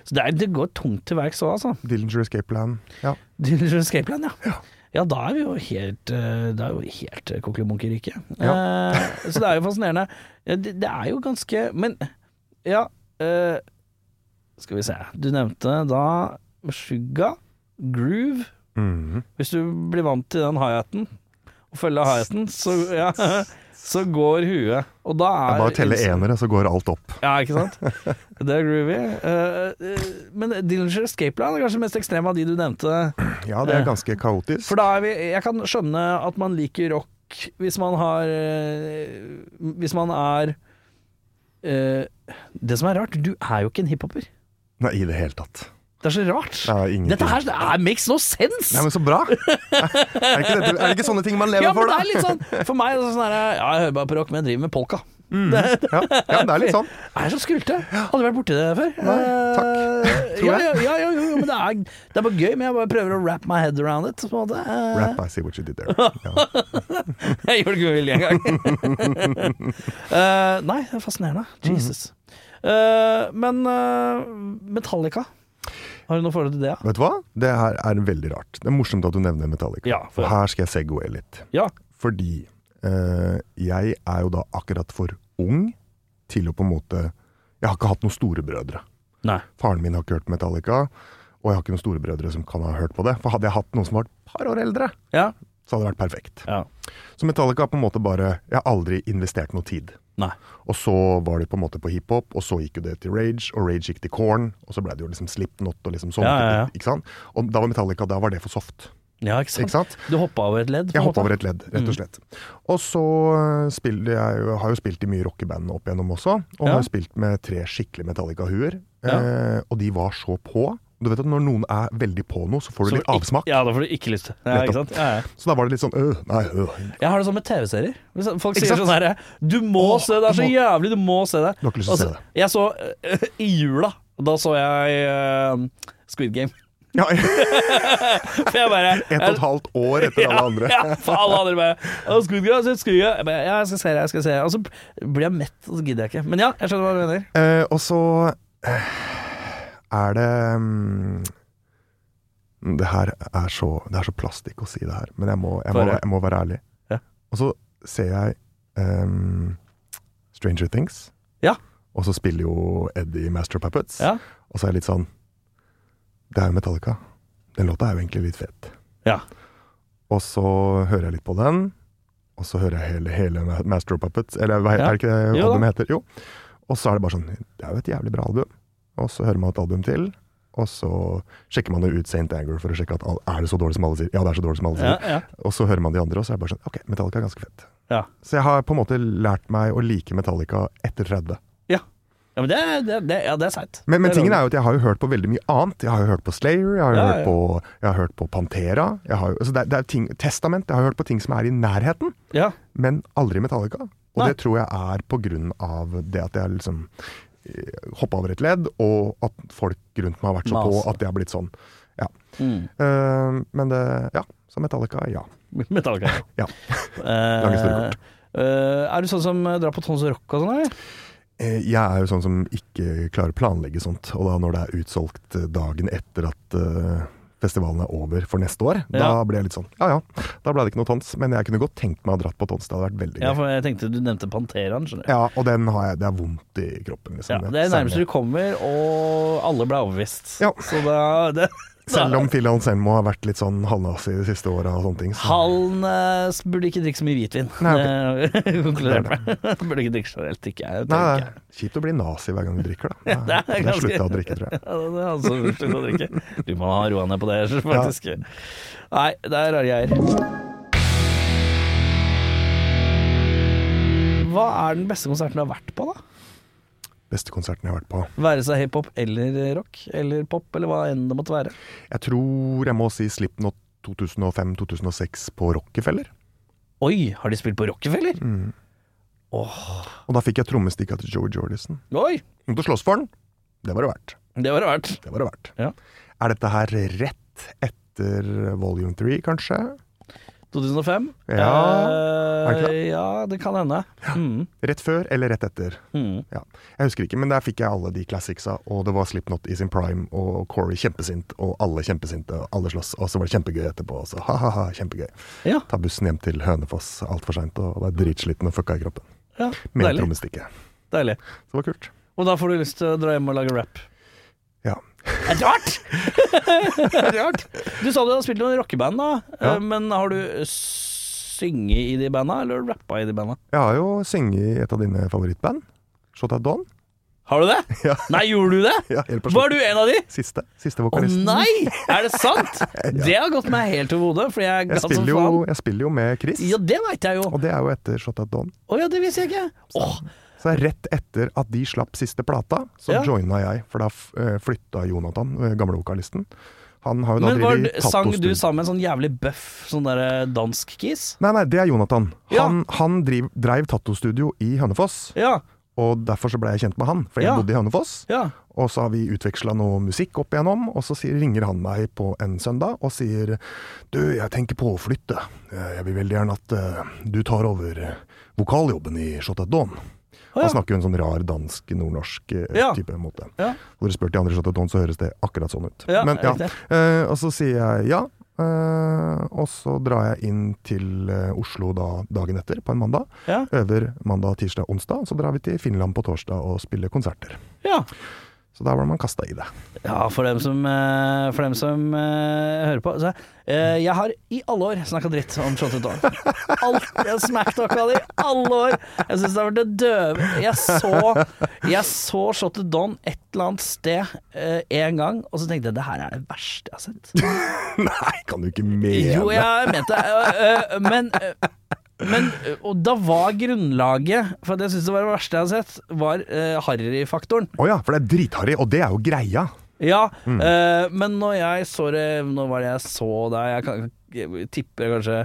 Så det, er, det går tungt til verks òg, altså. *laughs*
Dillinger Escape Plan. Ja.
Dillinger Escape Plan, ja. Ja, da er vi jo helt eh, Det er jo helt eh, kokkelimunkerike. Eh, så det er jo fascinerende. Ja, det, det er jo ganske Men ja eh, Skal vi se. Du nevnte da Suga, Groove
Mhm.
Hvis du blir vant til den hi-haten og følger hi-haten, så, ja, *laughs* så går huet. Og da
Jeg
er
bare teller enere, så går alt opp.
Ja, ikke
*laughs*
sant? Det er groovy. Eh, eh, men Dillinger Escape Plan er kanskje mest ekstrem av de du nevnte.
Ja, det er ganske kaotisk.
For da er vi Jeg kan skjønne at man liker rock hvis man har eh, Hvis man er eh, Det som er rart, du er jo ikke en hiphoper.
Nei, i det hele tatt.
Det er så rart.
Det er ingenting.
Dette her det er, makes no sense!
Nei, men så
*laughs*
bra! Er det ikke, dette, er det ikke sånne ting man lever
ja, men
for,
det
da?
er litt sånn For meg er det sånn her Ja, jeg hører bare på rock, men jeg driver med polka.
Mhm. Ja, ja, det er litt sånn.
Jeg er så skrulte. Aldri vært borti det før.
Nei, takk.
Eh,
Tror
ja, ja, ja, jo, jo, men det er, det er bare gøy, men jeg bare prøver å wrap my head around it. På en måte. Eh,
Rap, I see what you did there. Ja.
*laughs* Jeg gjorde det ikke med vilje engang.
*laughs*
Eh, nei, det er fascinerende. Jesus. Eh, men eh, Metallica, har du noe forhold til det?
Vet du hva? Det her er veldig rart. Det er morsomt at du nevner Metallica.
Ja, for-
for her skal jeg segway litt.
Ja.
Fordi eh, jeg er jo da akkurat for ung til å på en måte Jeg har ikke hatt noen storebrødre.
Nei.
Faren min har ikke hørt Metallica, og jeg har ikke noen storebrødre som kan ha hørt på det. For hadde jeg hatt noen som var et par år eldre,
Ja.
så hadde det vært perfekt.
ja.
Så Metallica har på en måte bare Jeg har aldri investert noe tid.
Nei.
Og så var det på en måte på hiphop, og så gikk jo det til Rage, og Rage gikk til Corn, og så ble det jo liksom Slipknot og liksom sånne
Ja, ja, ja.
ting. Ikke sant? Og da var Metallica, da var det for soft.
Ja, ikke sant?
Ikke sant?
Du hoppa over et ledd? på en
Jeg
måte.
hoppa over et ledd, rett
Mm.
og slett. Og så øh, spiller jeg jo- har jo spilt i mye rockeband opp igjennom også, og
Ja.
har jo spilt med tre skikkelig Metallica-huer.
Ja.
Eh, og de var så på. Du vet at når noen er veldig på noe, så får du
Så
litt
ikke-
avsmak.
Ja, da får du ikke lyst til ja, ikke
Nettopp.
sant? Ja, ja.
Så da var det litt sånn øh, nei, øh.
Jeg har det sånn med TV-serier. Hvis Folk
Ikke
sier
sant?
sånn herre Du må
Åh,
se det! Det er så
du må-
jævlig, du må se det!
Du har ikke lyst til å
Og så-
se det.
Jeg så eh, *laughs* I jula, da så jeg eh, Squid Game. *laughs*
Ja, et
For jeg bare
og *laughs* et halvt år etter alle andre.
*laughs* Ja, for alle andre bare «Å, Squid Game, jeg synes Squid Game». Jeg bare, Ja, jeg skal se det, jeg skal se det. Og så blir jeg mett, og så gidder jeg ikke. Men ja, jeg skjønner hva du mener.
Eh, og så eh, er det mm, Det her er så Det er så plastikk å si det her, men jeg må, jeg må,
Få høre.
jeg må være ærlig.
Ja.
Og så ser jeg ehm, Stranger Things,
Ja.
og så spiller jo Eddie Master Puppets.
Ja.
Og så er jeg litt sånn Det er jo Metallica. Den låta er jo egentlig litt fet.
Ja.
Og så hører jeg litt på den, og så hører jeg hele, hele Ma- Master of Puppets, eller hva,
Ja.
er det ikke det
Jo da.
albumet heter? Jo. Og så er det bare sånn Det er jo et jævlig bra album. Og så hører man et album til, og så sjekker man jo ut St. Anger for å sjekke at al- er det så dårlig som alle sier. Ja, det er så dårlig som alle
Ja,
sier.
ja.
Og så hører man de andre, og så er det bare sånn Ok, Metallica er ganske fett.
Ja.
Så jeg har på en måte lært meg å like Metallica etter 30.
ja. ja men det, det, det, ja, det er seigt.
Men, men
Det
tingen
lov.
er jo at jeg har jo hørt på veldig mye annet. Jeg har jo hørt på Slayer, jeg har,
Ja,
jo
ja.
hørt, på, jeg har hørt på Pantera. Jeg har jo, altså det, er- det er ting, Testament. Jeg har hørt på ting som er i nærheten,
ja.
men aldri Metallica. Og
Nei.
det tror jeg er på grunn av det at jeg liksom hoppa over et ledd, og at folk rundt meg har vært så
Mas.
på at det har blitt sånn. Ja.
Mm. *laughs*
Eh, men det Ja. Så Metallica, ja.
Metallkar.
Ja.
Eh,
historie kort.
eh, er du sånn som eh, drar på Tons Rock og sånn, eller?
Eh, Jeg er jo sånn som ikke klarer å planlegge sånt. Og da når det er utsolgt eh, dagen etter at eh, festivalen er over for neste år, da
Ja.
blir jeg litt sånn ja ja, da ble det ikke noe tons. Men jeg kunne godt tenkt meg å ha dratt på tons, det hadde vært veldig gøy.
Ja,
Ja,
for jeg tenkte du nevnte Panteraen, skjønner du.
og den har jeg, det er vondt i kroppen,
Ja,
liksom.
det er nærmest du kommer, og alle ble overbevist.
Ja.
Så da det,
Selv om Phil Anselmo har vært litt sånn halvnazi de siste åra og sånne ting. Så.
Han eh, burde ikke drikke så mye hvitvin.
Nei,
Det *laughs* konkluderer jeg med. Burde ikke drikke så helt, ikke jeg.
Nei,
tenker
det
jeg.
er kjipt å bli nazi hver gang du
*laughs*
drikker, da.
det er
Det er, det er
ganske-
slutta å drikke, tror jeg.
Ja, det er han som slutta å drikke. Du må ha roa ned på det, *laughs* faktisk. Nei, det er rare greier. Hva er den beste konserten du har vært på, da?
Beste konserten jeg har vært på.
Være seg hiphop eller rock eller pop, eller hva enn det måtte være.
Jeg tror jeg må si Slipknot 2005-2006 på Rockefeller.
Oi, har de spilt på Rockefeller?
Og da fikk jeg trommestikka til Joey Jordison.
Oi!
Måtte slåss for den! Det var det verdt.
Det var det verdt.
Det var det verdt.
Ja.
Er dette her rett etter volume 3, kanskje?
2005?
Ja. Er det
Eh,
ikke
ja, det kan hende. Mm.
Rett før eller rett etter?
Mm.
Ja, Jeg husker ikke, men der fikk jeg alle de classicsa, og det var Slipknot i sin prime, og Corey kjempesint, og alle kjempesinte, og alle slåss, og så var det kjempegøy etterpå, og så ha-ha-ha, kjempegøy.
Ja.
Ta bussen hjem til Hønefoss altfor seint, og var dritsliten og fucka i kroppen.
ja.
Med
Deilig.
trommestikke.
Deilig.
Så det var kult.
Og da får du lyst til å dra hjem og lage rap.
Ja.
Er det *laughs* Rart! Er det Rart! Du sa du hadde spilt i noen rockeband, da.
Ja.
Eh, Men har du synget i de banda, eller rappa i de banda?
Jeg har jo sunget i et av dine favorittband, Shot at Dawn. *laughs*
Har du det?
Ja.
Nei, gjorde du det?
Ja, helt på
Var
slutt.
du en av de?
Siste, siste
Å
vokalisten.
nei! Er det sant? Det har gått meg helt over hodet, for jeg er
jeg,
glad som
spiller jo,
Altså, faen.
jeg spiller jo med Chris,
Ja, det veit jeg jo.
og det er jo etter Shot at Dawn.
Å ja, det visste jeg ikke. Åh,
Så det er rett etter at de slapp siste plata, så
Ja.
joina jeg. For da f- eh, flytta Jonathan, eh, gamle vokalisten. Han har jo da
men var,
drevet i
sang du
tattostudio.
sammen med en sånn jævlig bøff sånn derre dansk kis?
Nei, nei, det er Jonathan.
Ja.
Han, han driv, dreiv tattostudio i Hønefoss,
Ja.
og derfor så ble jeg kjent med han. For jeg
Ja.
bodde i Hønefoss,
Ja.
og så har vi utveksla noe musikk opp igjennom. Og så sier, ringer han meg på en søndag og sier Du, jeg tenker på å flytte. Eh, Jeg vil veldig gjerne at eh, du tar over eh, vokaljobben i Shot at Dawn.
Å, ja.
Han snakker jo en sånn rar dansk, nordnorsk eh,
Ja.
type måte.
Ja.
Når dere spør de andre i Shot at Dawn, så høres det akkurat sånn ut.
Ja,
Men, ja.
riktig.
Eh, og så sier jeg ja. eh, og så drar jeg inn til eh, Oslo da, dagen etter, på en mandag.
Ja.
Øver mandag, tirsdag, onsdag. Så drar vi til Finland på torsdag og spiller konserter.
ja.
Så der var man kasta i det.
Ja, for dem som, eh, for dem som eh, hører på. Så, eh, jeg har i alle år snakka dritt om Shot It Down. Alt, jeg smacktalka det i alle år. Jeg syns det har vært det døve Jeg så, jeg så Shot It Down et eller annet sted eh, en gang, og så tenkte jeg det her er det verste jeg har sett.
*laughs* Nei, kan du ikke mene
Jo, jeg mente det, eh, eh, men eh, men, eh, og da var grunnlaget for at jeg syntes det var det verste jeg har sett, var uh, harryfaktoren.
Å ja, for det er dritharry, og det er jo greia.
Ja, eh, men når jeg så det Når var det jeg så deg? Jeg, kan, jeg tipper kanskje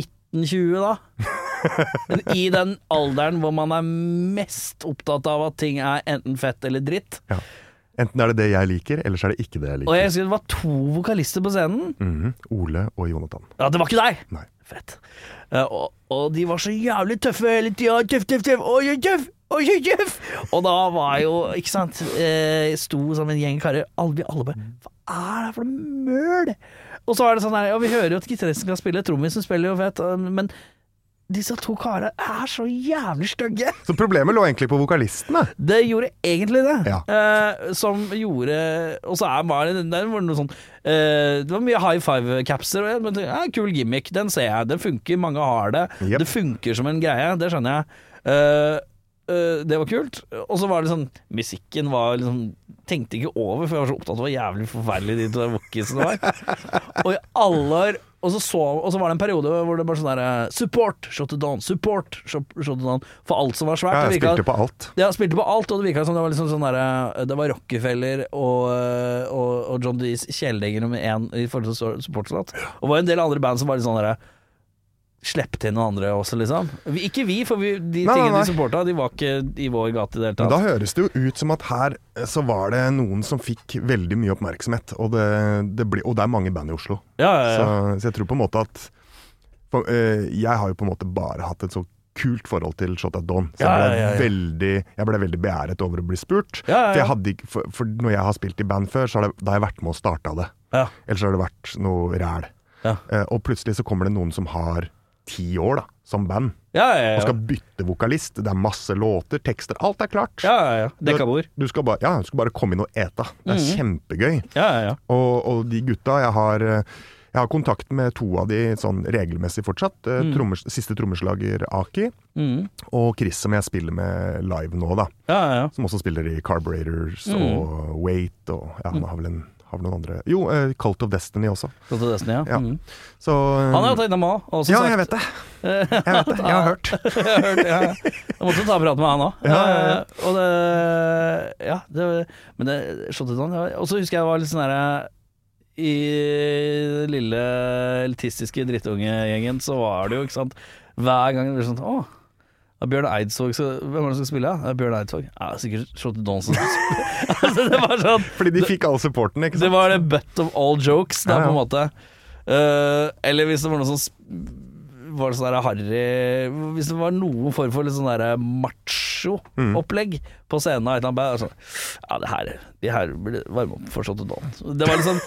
1920, da. Men i den alderen hvor man er mest opptatt av at ting er enten fett eller dritt.
Enten er det det jeg liker, eller så er det ikke det jeg
Og
liker.
jeg husker det var to vokalister på scenen.
Mhm. Ole og Jonathan.
Ja, det var ikke deg!
Nei.
Fett. Eh, og, og de var så jævlig tøffe hele tida. Tøff, tøff, tøff. Oi, oi, tøff. Oi, oi, tøff. Og da var jo, ikke sant eh, Sto som en gjeng karer. Alle, vi alle bare Hva er det for noe møl? Og så er det sånn her, og vi hører jo at gitaristen kan spille, trommisen spiller jo fett, eh, men disse to karene er så jævlig stygge.
Så problemet lå egentlig på vokalistene.
Det gjorde egentlig det.
Ja.
Eh, som gjorde Og så er bare den der var det noe sånn eh, Det var mye high five-capser. og jeg tenkte, Ja, kul gimmick, den ser jeg. Den funker, mange har det.
Jep.
Det funker som en greie, det skjønner jeg. Eh, eh, det var kult. Og så var det sånn Musikken var liksom Tenkte ikke over, for jeg var så opptatt av hvor jævlig forferdelig de to wokisene var.
*laughs*
Og i alle år og så, så, og så var det en periode hvor det bare sånn der eh, Support, shot it down, support, shot shot it down. For alt som var svært.
Ja,
det
jeg
virket-
spilte på alt.
ja, spilte på alt, og det virka som det var liksom sånn derre Det var Rockefeller og, eh, og, og John Dees kjæledenger nummer én i forhold til supportlåt. Og det var en del andre band som var litt sånn derre Slipp til noen andre også, liksom. Vi, ikke vi, for vi, de
Nei, nei,
tingene
nei.
de supporta, de var ikke i vår gate i det hele
Men da
tatt.
høres det jo ut som at her eh, så var det noen som fikk veldig mye oppmerksomhet, og det, det, blir- og det er mange band i Oslo.
Ja, ja, ja.
Så, så jeg tror på en måte at for, eh, Jeg har jo på en måte bare hatt et så kult forhold til Shot at Dawn. Så jeg
Ja,
ble,
ja, ja, ja.
Veldig, jeg ble veldig beæret over å bli spurt.
Ja, ja, ja.
For, jeg hadde, ikke- for, for når jeg har spilt i band før, så har, det, da har jeg vært med og starta det.
ja.
Ellers har det vært noe ræl.
Ja.
Eh, og plutselig så kommer det noen som har ti år da, som band.
Ja, ja,
Man
ja.
skal bytte vokalist, det er masse låter, tekster, alt er klart.
ja, ja, ja. Dekka bord.
Du skal bare, ja, du skal bare komme inn og ete.
Mhm.
Det er kjempegøy.
Ja, ja, ja.
Og, og de gutta jeg har jeg har kontakt med to av de sånn regelmessig fortsatt. Eh,
Mhm.
Trommers, siste trommeslager Aki,
Mm.
og Chris som jeg spiller med live nå, da.
ja, ja, ja.
Som også spiller i Carburetors
Mm.
og Wait og ja, han har vel, en, har vel noen andre Jo, eh, Cult of Destiny også.
Så til Destiny, ja.
Ja.
Mm.
Så eh,
Han har vært innom òg, og som
Ja,
sagt
jeg vet det. Jeg vet det. Jeg har hørt.
*laughs* Jeg har hørt, ja, ja. Jeg måtte ta prat med han òg.
Ja, ja, ja.
Og det Ja, det, men det slått ut han. ja. Og så husker jeg jeg var litt sånn herre I den lille elitistiske drittungegjengen så var det jo, ikke sant Hver gang det ble sånn Å, det er Bjørn Eidsvåg så, Hvem er det som skal spille? Ja, Det er Bjørn Eidsvåg. Ja, det er sikkert Slått ut Donsen. *laughs* altså, det var sånn
Fordi de fikk all supporten, ikke
det
sant?
var det butt of all jokes, da,
Ja, ja.
på en måte. Eh, eller hvis det var noe sånn sp- var det sånn der harry Hvis det var noen form for litt sånn der macho-opplegg på scenen av et eller annet band, sånn, Ja, det her De her burde varme opp for Shot Don. Det var liksom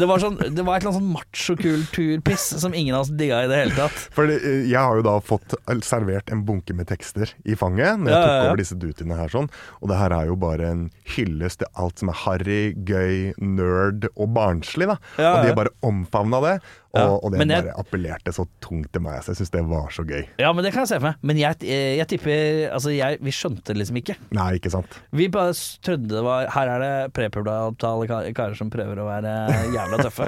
Det var, sånn, det var et eller annet sånn machokulturpiss som ingen av oss digga i det hele tatt.
For det- eh, jeg har jo da fått eh, servert en bunke med tekster i fanget når jeg
Ja,
tok
ja, ja.
over disse dutiene her sånn. Og det her er jo bare en hyllest til alt som er harry, gøy, nerd og barnslig, da.
Ja,
og de
ja.
bare omfavna det, og,
Ja,
og det
men jeg-
bare appellerte så tungt til meg. Så jeg syns det var så gøy.
Ja, men det kan jeg se for meg. Men jeg, eh, jeg tipper Altså, jeg, vi skjønte det liksom ikke.
Nei, ikke sant?
Vi bare s- trodde det var Her er det prepubertale kar- karer som prøver å være eh, jævla tøffe.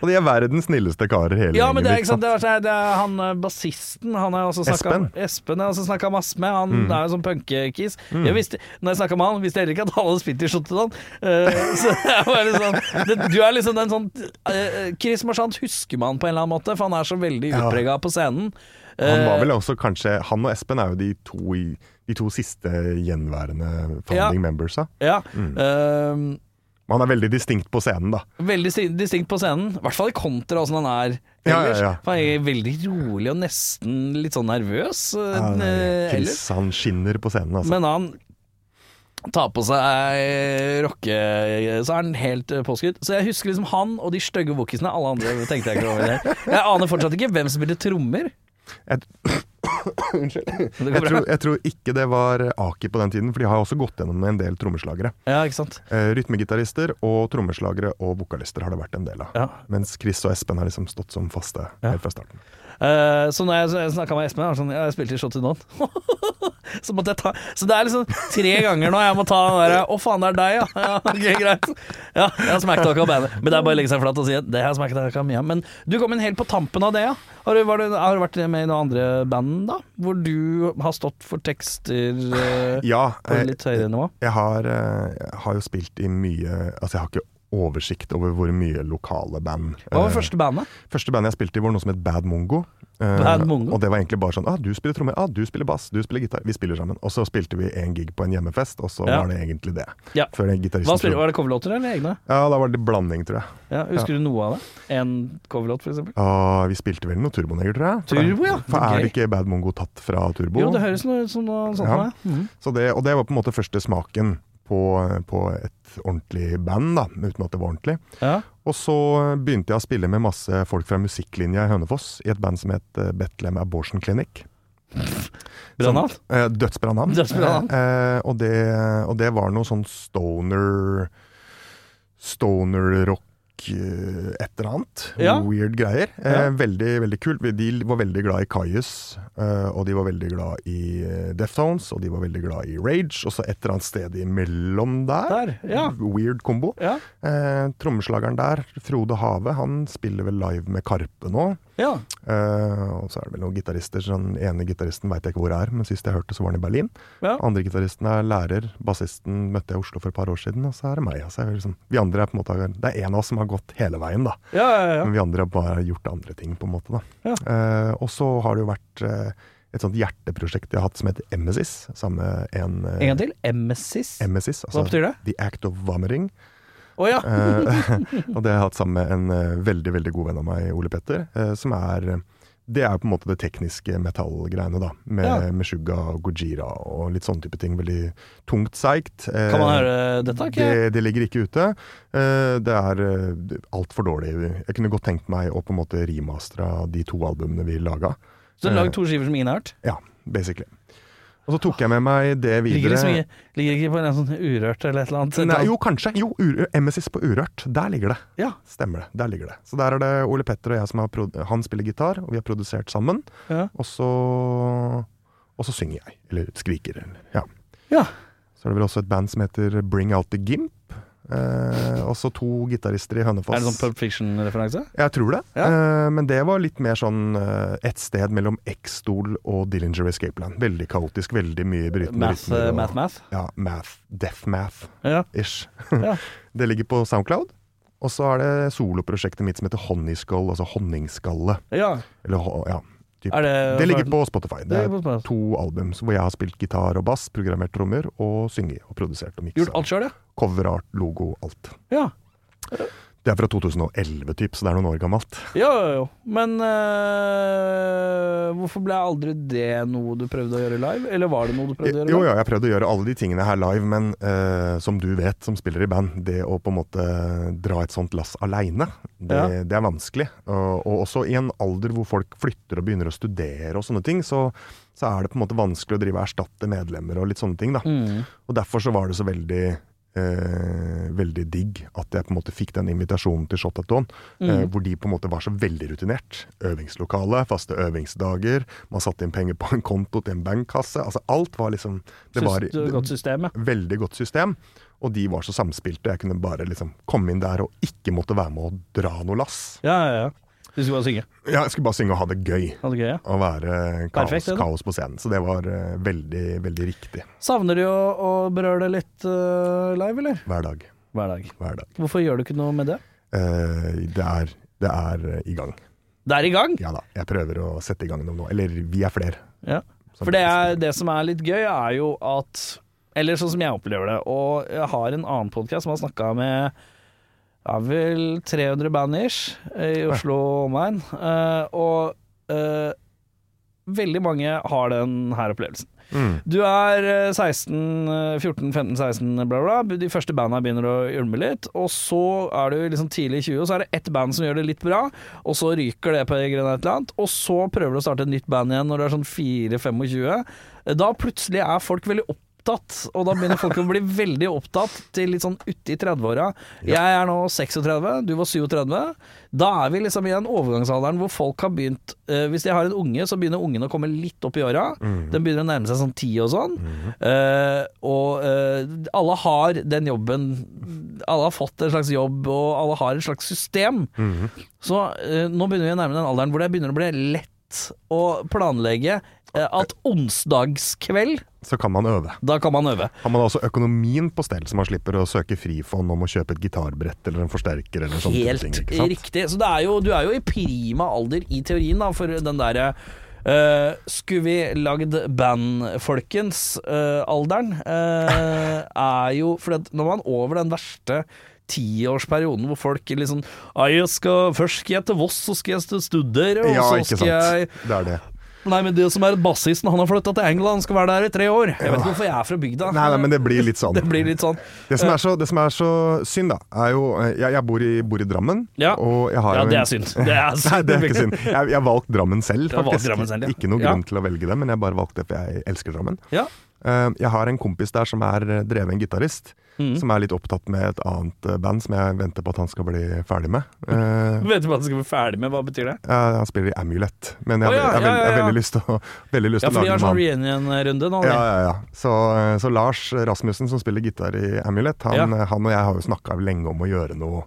Og de er verdens snilleste karer hele liksom.
Ja, men det er
mitt,
ikke sant. Det er, sånn her, det er han eh, bassisten han har jeg også snakket,
Espen. Mm.
Espen har jeg også snakka masse med. Han er jo sånn punkekis. Jeg visste- Når jeg snakka med han, visste jeg heller ikke at han hadde spilt i Shotteland. *laughs* så jeg var litt sånn det, Du er liksom den sånn eh, Chris Marchant husker man på en eller annen måte, for han er så veldig
Ja.
utprega på scenen.
Han var
Eh,
vel også kanskje Han og Espen er jo de to, i- de to siste gjenværende founding members. Da.
ja. Eh,
Men han er veldig distinkt på scenen, da.
Veldig sti- distinkt på scenen, i hvert fall i kontra åssen han er
Ja, ja,
ellers.
ja.
For Han er veldig rolig og nesten litt sånn nervøs eh,
Ja, nei,
eh, ellers.
Chris, han skinner på scenen, altså.
Men han tar på seg eh, rocke... Så er han helt eh, påskutt. Så jeg husker liksom han og de stygge wokisene. Alle andre tenkte jeg ikke over det. Jeg aner fortsatt ikke hvem som spilte trommer.
Jeg, *coughs* unnskyld.
Men det
Jeg
går bra.
tror, jeg tror ikke det var Aki på den tiden, for de har også gått gjennom en del trommeslagere.
Ja, ikke sant.
Eh, rytmegitarister og trommeslagere og vokalister har det vært en del av.
Ja.
Mens Chris og Espen har liksom stått som faste helt fra starten.
Eh, så når jeg snakka med Espen, han var sånn, ja, jeg spilte i Shot to Don. *laughs* så måtte jeg ta Så det er liksom tre ganger nå jeg må ta den derre Å, faen, det er deg, ja. ja *laughs* ok, greit. Ja, jeg har smakt akkurat bandet. Men det er bare å legge seg flat og si at det har jeg smakt akkurat mye. av». Men du kom inn helt på tampen av det, ja. Har du, var du, har du vært med i noen andre band, da? Hvor du har stått for tekster eh,
Ja,
på
eh,
et litt høyere nivå?
jeg har, eh, jeg har jo spilt i mye Altså, jeg har ikke oversikt over hvor mye lokale band eh,
Hva var første bandet?
Første bandet jeg spilte i var noe som het Bad Mongo. Eh,
Bad Mongo?
Og det var egentlig bare sånn ah, 'Du spiller trommer, ah, du spiller bass, du spiller gitar.' Vi spiller sammen. Og så spilte vi en gig på en hjemmefest, og så
Ja.
var det egentlig det.
Ja.
Før den gitaristen
Hva spiller,
slo-
var det coverlåter eller egne?
Ja, da var det blanding, tror jeg.
Ja, husker du noe av det? En coverlåt, for eksempel?
Og Ah, vi spilte vel noe Turboneger, tror jeg.
Turbo, ja.
For
Gøy.
er det ikke Bad Mongo tatt fra Turbo?
Jo, det høres noe ut som noe sånt.
Ja.
Ja. Mhm.
Så det, og det var på en måte første smaken på, på et ordentlig band, da, uten at det var ordentlig.
ja.
Og så eh, begynte jeg å spille med masse folk fra musikklinja i Hønefoss, i et band som het eh, Bethlehem Abortion Clinic.
Bra
Som-
navn.
Eh, Dødsbra navn.
*laughs* Dødsbra navn.
Eh, og, det, og det var noe sånn stoner Stoner rock eh, et eller annet.
Ja.
Weird greier. Eh,
Ja.
Veldig veldig kult. Vi- De var veldig glad i Kaius, eh, og de var veldig glad i eh, Deftones, og de var veldig glad i Rage, og så et eller annet sted imellom der.
Der, ja.
Weird kombo.
Ja,
Eh, Trommeslageren der, Frode Have, han spiller vel live med Karpe nå.
ja.
Eh, og så er det vel noen gitarister. så Den ene gitaristen veit jeg ikke hvor er, men sist jeg hørte, så var han i Berlin.
Ja.
Andre gitaristen er lærer. Bassisten møtte jeg i Oslo for et par år siden, og så er det meg. Altså, jeg er liksom, vi andre er på en måte Det er en av oss som har gått hele veien, da.
ja, ja, ja.
Men vi andre har bare gjort andre ting, på en måte. da
Ja.
Eh, Og så har det jo vært eh, et sånt hjerteprosjekt jeg har hatt som heter Emesis. Sammen med en
En
eh,
gang til. Emesis. Å
Emesis, altså
Hva betyr det?
The Act of Vomiting.
ja.
Eh, *laughs* og det har jeg hatt sammen med en eh, veldig veldig god venn av meg, Ole Petter. eh, som er Det er jo på en måte det tekniske metallgreiene, da. Med,
Ja.
med Suga og Gojira og litt sånne type ting. Veldig tungt, seigt. Eh,
Kan man høre dette? Ikke?
Det, det ligger ikke ute. Eh, det er uh, altfor dårlig. Jeg kunne godt tenkt meg å på en måte remastre de to albumene vi laga.
Så lag to skiver som ingen har hørt.
Ja, basically. Og så tok jeg med meg det
Ligger
videre.
det så mye Ligger det ikke på en sånn urørt eller et eller annet?
Nei, jo, kanskje. Jo, Ur- Emesis på Urørt. Der ligger det.
Ja.
Stemmer det. Der ligger det. Så der er det Ole Petter og jeg som har prod Han spiller gitar, og vi har produsert sammen.
Ja.
Og så Og så synger jeg. Eller skriker. Eller, ja.
ja.
Så er det vel også et band som heter Bring Out The Gimp. Eh, også to gitarister i Hønefoss.
Er det sånn Pulp Fiction-referanse?
Jeg tror det.
Ja.
Eh, men det var litt mer sånn eh, et sted mellom X-Stol og Dillinger Escape Plan. Veldig kaotisk, veldig mye brytende
Math, eh,
rytmer og-
math, math?
Ja, math. Death math.
Ja.
Ish.
Ja.
*laughs* Det ligger på Soundcloud. Og så er det soloprosjektet mitt som heter Honeyskall, altså honningskalle.
ja.
Eller, ho- ja, typ.
Er det
det ligger på Spotify.
Det
Det
ligger
er
på Spotify.
to album hvor jeg har spilt gitar og bass, programmert trommer og synget og produsert og
Gjort
miksa.
alt sjøl, ja?
Coverart, logo, alt.
Ja.
Det er fra 2011, typ, så det er noen år gammelt.
Jo, jo, jo. Men eh, hvorfor ble aldri det noe du prøvde å gjøre live? Eller var det noe du prøvde å gjøre
Eh, Jo,
live?
ja, jeg har prøvd å gjøre alle de tingene her live, men eh, som du vet, som spiller i band, det å på en måte dra et sånt lass aleine, det,
Ja.
det er vanskelig. Og, og også i en alder hvor folk flytter og begynner å studere og sånne ting, så, så er det på en måte vanskelig å drive og erstatte medlemmer og litt sånne ting, da.
Mm.
Og derfor så var det så veldig Eh, veldig digg at jeg på en måte fikk den invitasjonen til Shot at Dawn, eh,
Mm.
hvor de på en måte var så veldig rutinert. Øvingslokale, faste øvingsdager, man satte inn penger på en konto til en bankkasse. Altså alt var liksom Det var
Syns du godt system, ja.
veldig godt system, og de var så samspilte. Jeg kunne bare liksom komme inn der og ikke måtte være med å dra noe lass.
Ja, ja, ja. Du skulle bare synge.
Ja, jeg skulle bare synge og ha det gøy.
Ha det gøy, ja.
Og være kaos,
Perfekt, det da.
kaos på scenen. Så det var eh, veldig, veldig riktig
Savner du å, å berøre det litt eh, live, eller?
hver dag.
Hver dag.
Hver dag.
Hvorfor gjør du ikke noe med det?
Eh, det er, det er eh, i gang.
Det er i gang!
Ja da, jeg prøver å sette i gang noe nå. Eller vi er flere.
Ja.
som-
For det, er, det som er litt gøy, er jo at Eller sånn som jeg opplever det, og jeg har en annen podkast som har snakka med ja, vel 300 band-ish eh, i Oslo og omegn, eh, og eh, veldig mange har den her opplevelsen.
Mm.
Du er eh, 16, eh, 14, 15, 16, bla, bla. De første banda begynner å ulme litt. Og så er du liksom tidlig i 20, og så er det ett band som gjør det litt bra. Og så ryker det på en eller annet. Og så prøver du å starte et nytt band igjen når du er sånn 4-25. Da plutselig er folk veldig opptatt. Og da begynner folk å bli veldig opptatt til litt sånn uti 30-åra. Jeg er nå 36, du var 37. Da er vi liksom i den overgangsalderen hvor folk har begynt eh, Hvis de har en unge, så begynner ungen å komme litt opp i åra. Den begynner å nærme seg sånn ti og sånn. Eh, og eh, alle har den jobben Alle har fått en slags jobb, og alle har et slags system. Så eh, nå begynner vi å nærme den alderen hvor det begynner å bli lett å planlegge eh, at onsdagskveld,
Så kan man øve.
da kan man øve.
Har man også økonomien på stell, så man slipper å søke frifond om å kjøpe et gitarbrett eller en forsterker eller sånne
Helt
ting. ikke sant?
riktig. Så det er jo, du er jo i prima alder i teorien da, for den derre eh, skulle vi lagd band, folkens? eh, alderen eh, er jo For at når man er over den verste tiårsperioden hvor folk liksom «Nei, jeg skal, Først skal jeg til Voss, så skal jeg studere, og
Ja,
så
ikke
skal jeg
sant. Det er det.
Nei, men det som er bassisten, han har flytta til England, skal være der i tre år. Jeg vet ikke hvorfor jeg er fra bygda.
Nei, nei, men det blir litt sånn.
*laughs* Det blir litt sånn.
Det som, er så, det som er så synd, da, er jo eh, Jeg, jeg bor, i, bor i Drammen,
Ja.
og jeg har
Ja,
jo
det
en-
er synd. Det er synd.
*laughs* Nei, det er ikke
*laughs*
synd. Jeg, jeg valgte Drammen selv,
Du har valgt
faktisk.
Drammen selv, ja.
Ikke noe
Ja.
grunn til å velge det, men jeg bare valgte det, for jeg elsker Drammen.
Ja.
Eh, Jeg har en kompis der som er eh, dreven gitarist,
Mm.
som er litt opptatt med et annet eh, band som jeg venter på at han skal bli ferdig med. Eh,
Vet du hva du skal bli ferdig med? Hva betyr det?
eh, han spiller i Amulet, men
Å,
jeg har
ja,
jeg, har
ja,
veld- jeg har
ja, ja.
veldig lyst til å, veldig lyst
Ja,
til
for
å
de har
lage noe
sånn
med han.
reunion-runde nå.
Ja,
de.
ja, ja. Så, eh, så Lars Rasmussen, som spiller gitar i Amulet, han,
Ja.
eh, han og jeg har jo snakka lenge om å gjøre noe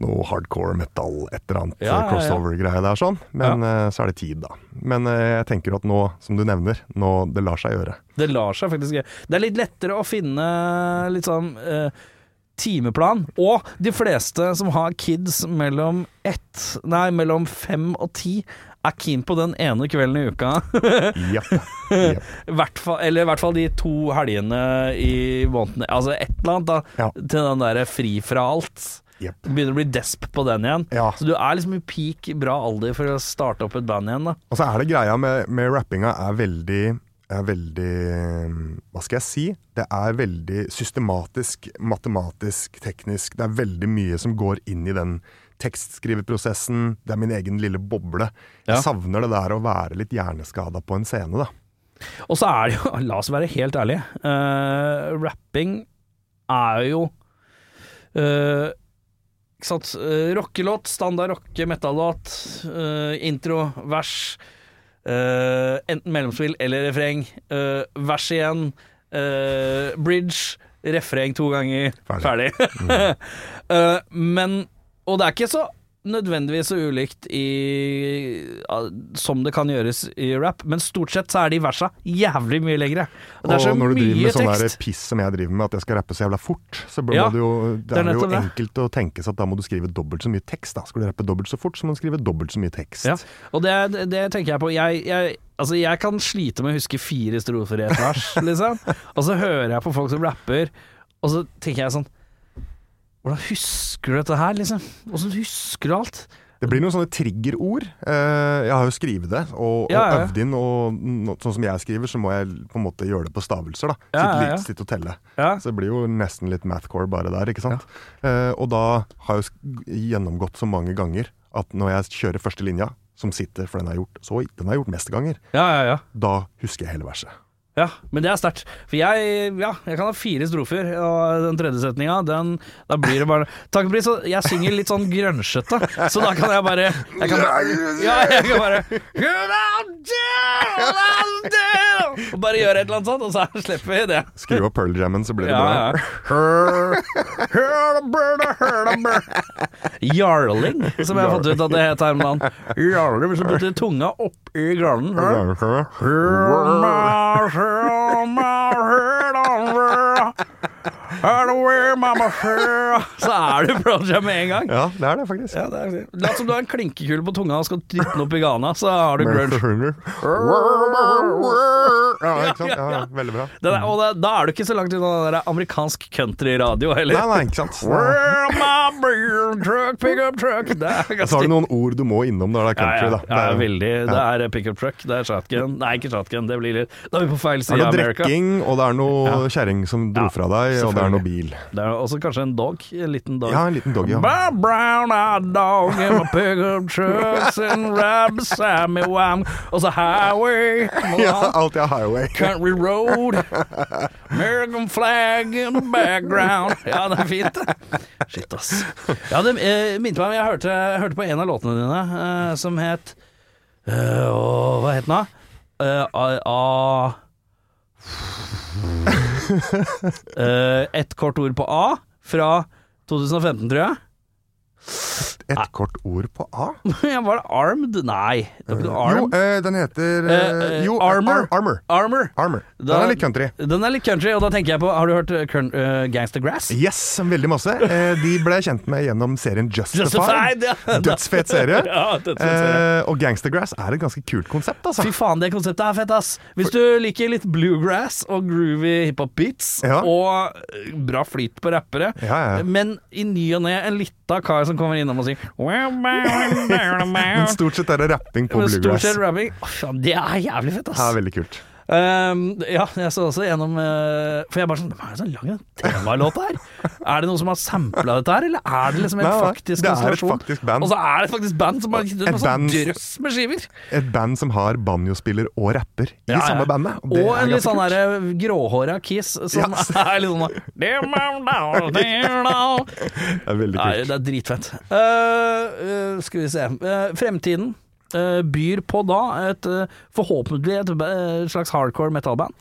noe hardcore metal, et eller annet
Ja, ja, ja.
eh, crossover-greie der sånn. Men eh, så er det tid, da. Men eh, jeg tenker at nå, som du nevner, nå det lar seg gjøre.
Det lar seg faktisk gjøre. Det er litt lettere å finne litt sånn eh, timeplan. Og de fleste som har kids mellom ett Nei, mellom fem og ti, er keen på den ene kvelden i uka. *laughs* Eh.
Japp. Japp.
hvert fall, eller i hvert fall de to helgene i måneden. Altså et eller annet, da.
Ja.
Til den derre fri fra alt.
Japp.
Begynner å bli desp på den igjen.
Ja.
Så du er liksom i
Altså,
peak bra alder for å starte opp et band igjen, da.
Og så er det greia med, med rappinga er veldig er veldig mm, Hva skal jeg si? Det er veldig systematisk, matematisk, teknisk. Det er veldig mye som går inn i den tekstskriveprosessen. Det er min egen lille boble.
Ja.
Jeg savner det der å være litt hjerneskada på en scene, da.
Og så er det jo, *laughs* la oss være helt ærlige, eh, rapping er jo eh, Ikke sant, eh, rockelåt, standard rocke, metallåt, eh, intro, vers. eh, enten mellomspill eller refreng. eh, vers igjen. eh, bridge. Refreng to ganger. Ferdig. *laughs*
Ferdig.
Eh, men Og det er ikke så nødvendigvis så ulikt i ja, som det kan gjøres i rap, men stort sett så er de versa jævlig mye lengre. Og Det er så
og når du driver
mye
med sånn der
tekst.
piss som jeg driver med, at jeg skal rappe så jævla fort, så bør
Ja,
må du jo,
det
det
er
er, jo
nettopp det.
enkelt å tenke seg at da må du skrive dobbelt så mye tekst. Da. Skal du rappe dobbelt så fort, så må du skrive dobbelt så mye tekst.
Ja, og det, det tenker jeg på. Jeg, jeg, altså jeg kan slite med å huske fire strofer i et
*laughs*
vers, liksom. Og så hører jeg på folk som rapper, og så tenker jeg sånn Hvordan husker du dette her, liksom? Hvordan husker du alt?
Det blir noen sånne triggerord. Eh, jeg har jo skrevet det, og,
Ja, ja.
og øvd inn. Og nå- sånn som jeg skriver, så må jeg på en måte gjøre det på stavelser. da
Ja,
Sitte,
ja, ja.
litt, sitte og telle.
Ja.
Så det blir jo nesten litt mathcore bare der, ikke sant. Eh, og da har jeg jo sk- gjennomgått så mange ganger at når jeg kjører første linja, som sitter, for den har jeg gjort, så, den har jeg gjort mest ganger,
ja, ja, ja.
da husker jeg hele verset.
Ja, men det er sterkt. For jeg, ja, jeg kan ha fire strofer, og den tredje setninga, den Da blir det bare Takk og pris, så jeg synger litt sånn grønnsjøtte, så da kan jeg bare Jeg kan bare, ja, jeg kan bare "Good out there, good out there", Og bare gjøre et eller annet sånt, og så slipper vi det.
Skru av Pearl Jammen, så blir det
Ja,
bra.
Jarling, som jeg har fått ut at det het her om dagen. Jarling, hvis du putter tunga opp i garnen. Så er du Pearl Jam med en gang.
*laughs* Ja, det er det, faktisk.
Ja, det er det. Lat som du har en klinkekule på tunga og skal dytte den opp i Ghana, så har du grunge.
Ja, ikke sant? Ja, ja, veldig bra.
Den er, og det, da er du ikke så langt unna den der amerikansk countryradio
Nei,
heller.
nei, ikke sant. Nei.
Where my beer truck, pickup truck Det er
Så har
ganske
du noen ord du må innom når det er country,
ja,
da.
ja, ja, veldig. Det er pickup truck, det er shotgun Nei, ikke shotgun, det blir litt Da er vi på feil
Det er
side
noe
av America.
drikking, og det er noe kjerring som dro
Ja,
fra deg, og det er noe bil. *laughs*
Det er også kanskje en dog. En liten dog.
Ja, en liten doggy. Ja.
My brown eyed dog in my pickup truck sitting right beside me while I'm on the highway.
*laughs* Ja, alt er
*laughs*
highway. *laughs*
Country road, American flag in the background. Ja, det er fint, det. Shit, ass. Ja, det eh, minte meg om Jeg hørte, jeg hørte på en av låtene dine eh, som het eh, åh, Hva het den, da? Eh, a- a- Eh, Ett kort ord på A fra 2015, tror jeg. *laughs*
Et kort ord på A.
Ja, Var det Armed? Nei. Det var ikke noe
Jo,
arm.
eh, den heter
Eh, eh,
eh, Jo,
Armor.
Ar- Armor.
Armor.
Armor. Den
Da-
er litt country.
Den er litt country, og da tenker jeg på Har du hørt eh, Kern- eh, Gangster Grass?
Yes, veldig masse. Eh, de ble jeg kjent med gjennom serien Justified.
Justified, ja.
Dødsfet serie.
*laughs* Ja, dødsfet serie.
eh, og Gangstergrass er et ganske kult konsept, altså.
Fy faen, det konseptet er fett, ass. Hvis du liker litt bluegrass og groovy hiphop beats,
Ja.
og eh, bra flyt på rappere,
Ja, ja.
men i ny og ne en lita kar som kommer innom og sier
*laughs* Men
Men
stort sett er det rapping på
stort
bluegrass.
sett rapping. Å, faen, det er jævlig fett,
Det
ass.
er veldig kult.
Ehm, ja, jeg så også gjennom eh, For jeg bare sånn Hva er det sånn lang temalåt her? er det noen som har sampla dette her, eller er det liksom en
Nei, nei,
faktisk
det er et
konstellasjon?
faktisk band.
Og så er det et faktisk band som har gitt ut
Et
en sånn
band-
drøss med skiver.
Et band som har banjospiller og rapper i
Ja, ja.
samme bandet.
Og
det er
en litt
ganske
sånn
kult.
derre gråhåra Kiss som
Yes.
*laughs* er litt sånn
Det er veldig
Nei,
kult.
det er dritfett. Eh, eh, skal vi se Eh, Fremtiden eh, byr på da et eh, forhåpentlig et eh, slags hardcore metal-band.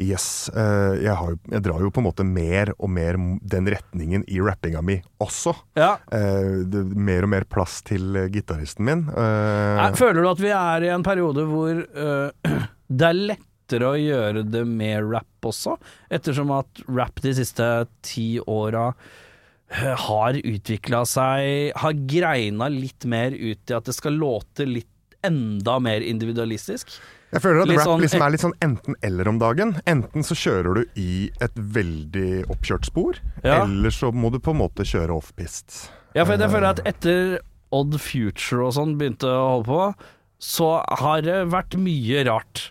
Yes. eh, jeg, har, jo- jeg drar jo på en måte mer og mer m- den retningen i rappinga mi også.
Ja.
Eh, det, mer og mer plass til eh, gitaristen min. Eh,
Nei, Føler du at vi er i en periode hvor øh, *clears throat* det er lettere å gjøre det med rap også? Ettersom at rap de siste ti åra øh, har utvikla seg Har greina litt mer ut i at det skal låte litt enda mer individualistisk.
Jeg føler at
Litt
rap
sånn-
liksom er litt sånn enten-eller om dagen. Enten så kjører du i et veldig oppkjørt spor,
Ja.
eller så må du på en måte kjøre offpist.
Eh. Ja, for jeg føler at etter Odd Future og sånn begynte å holde på, så har det vært mye rart.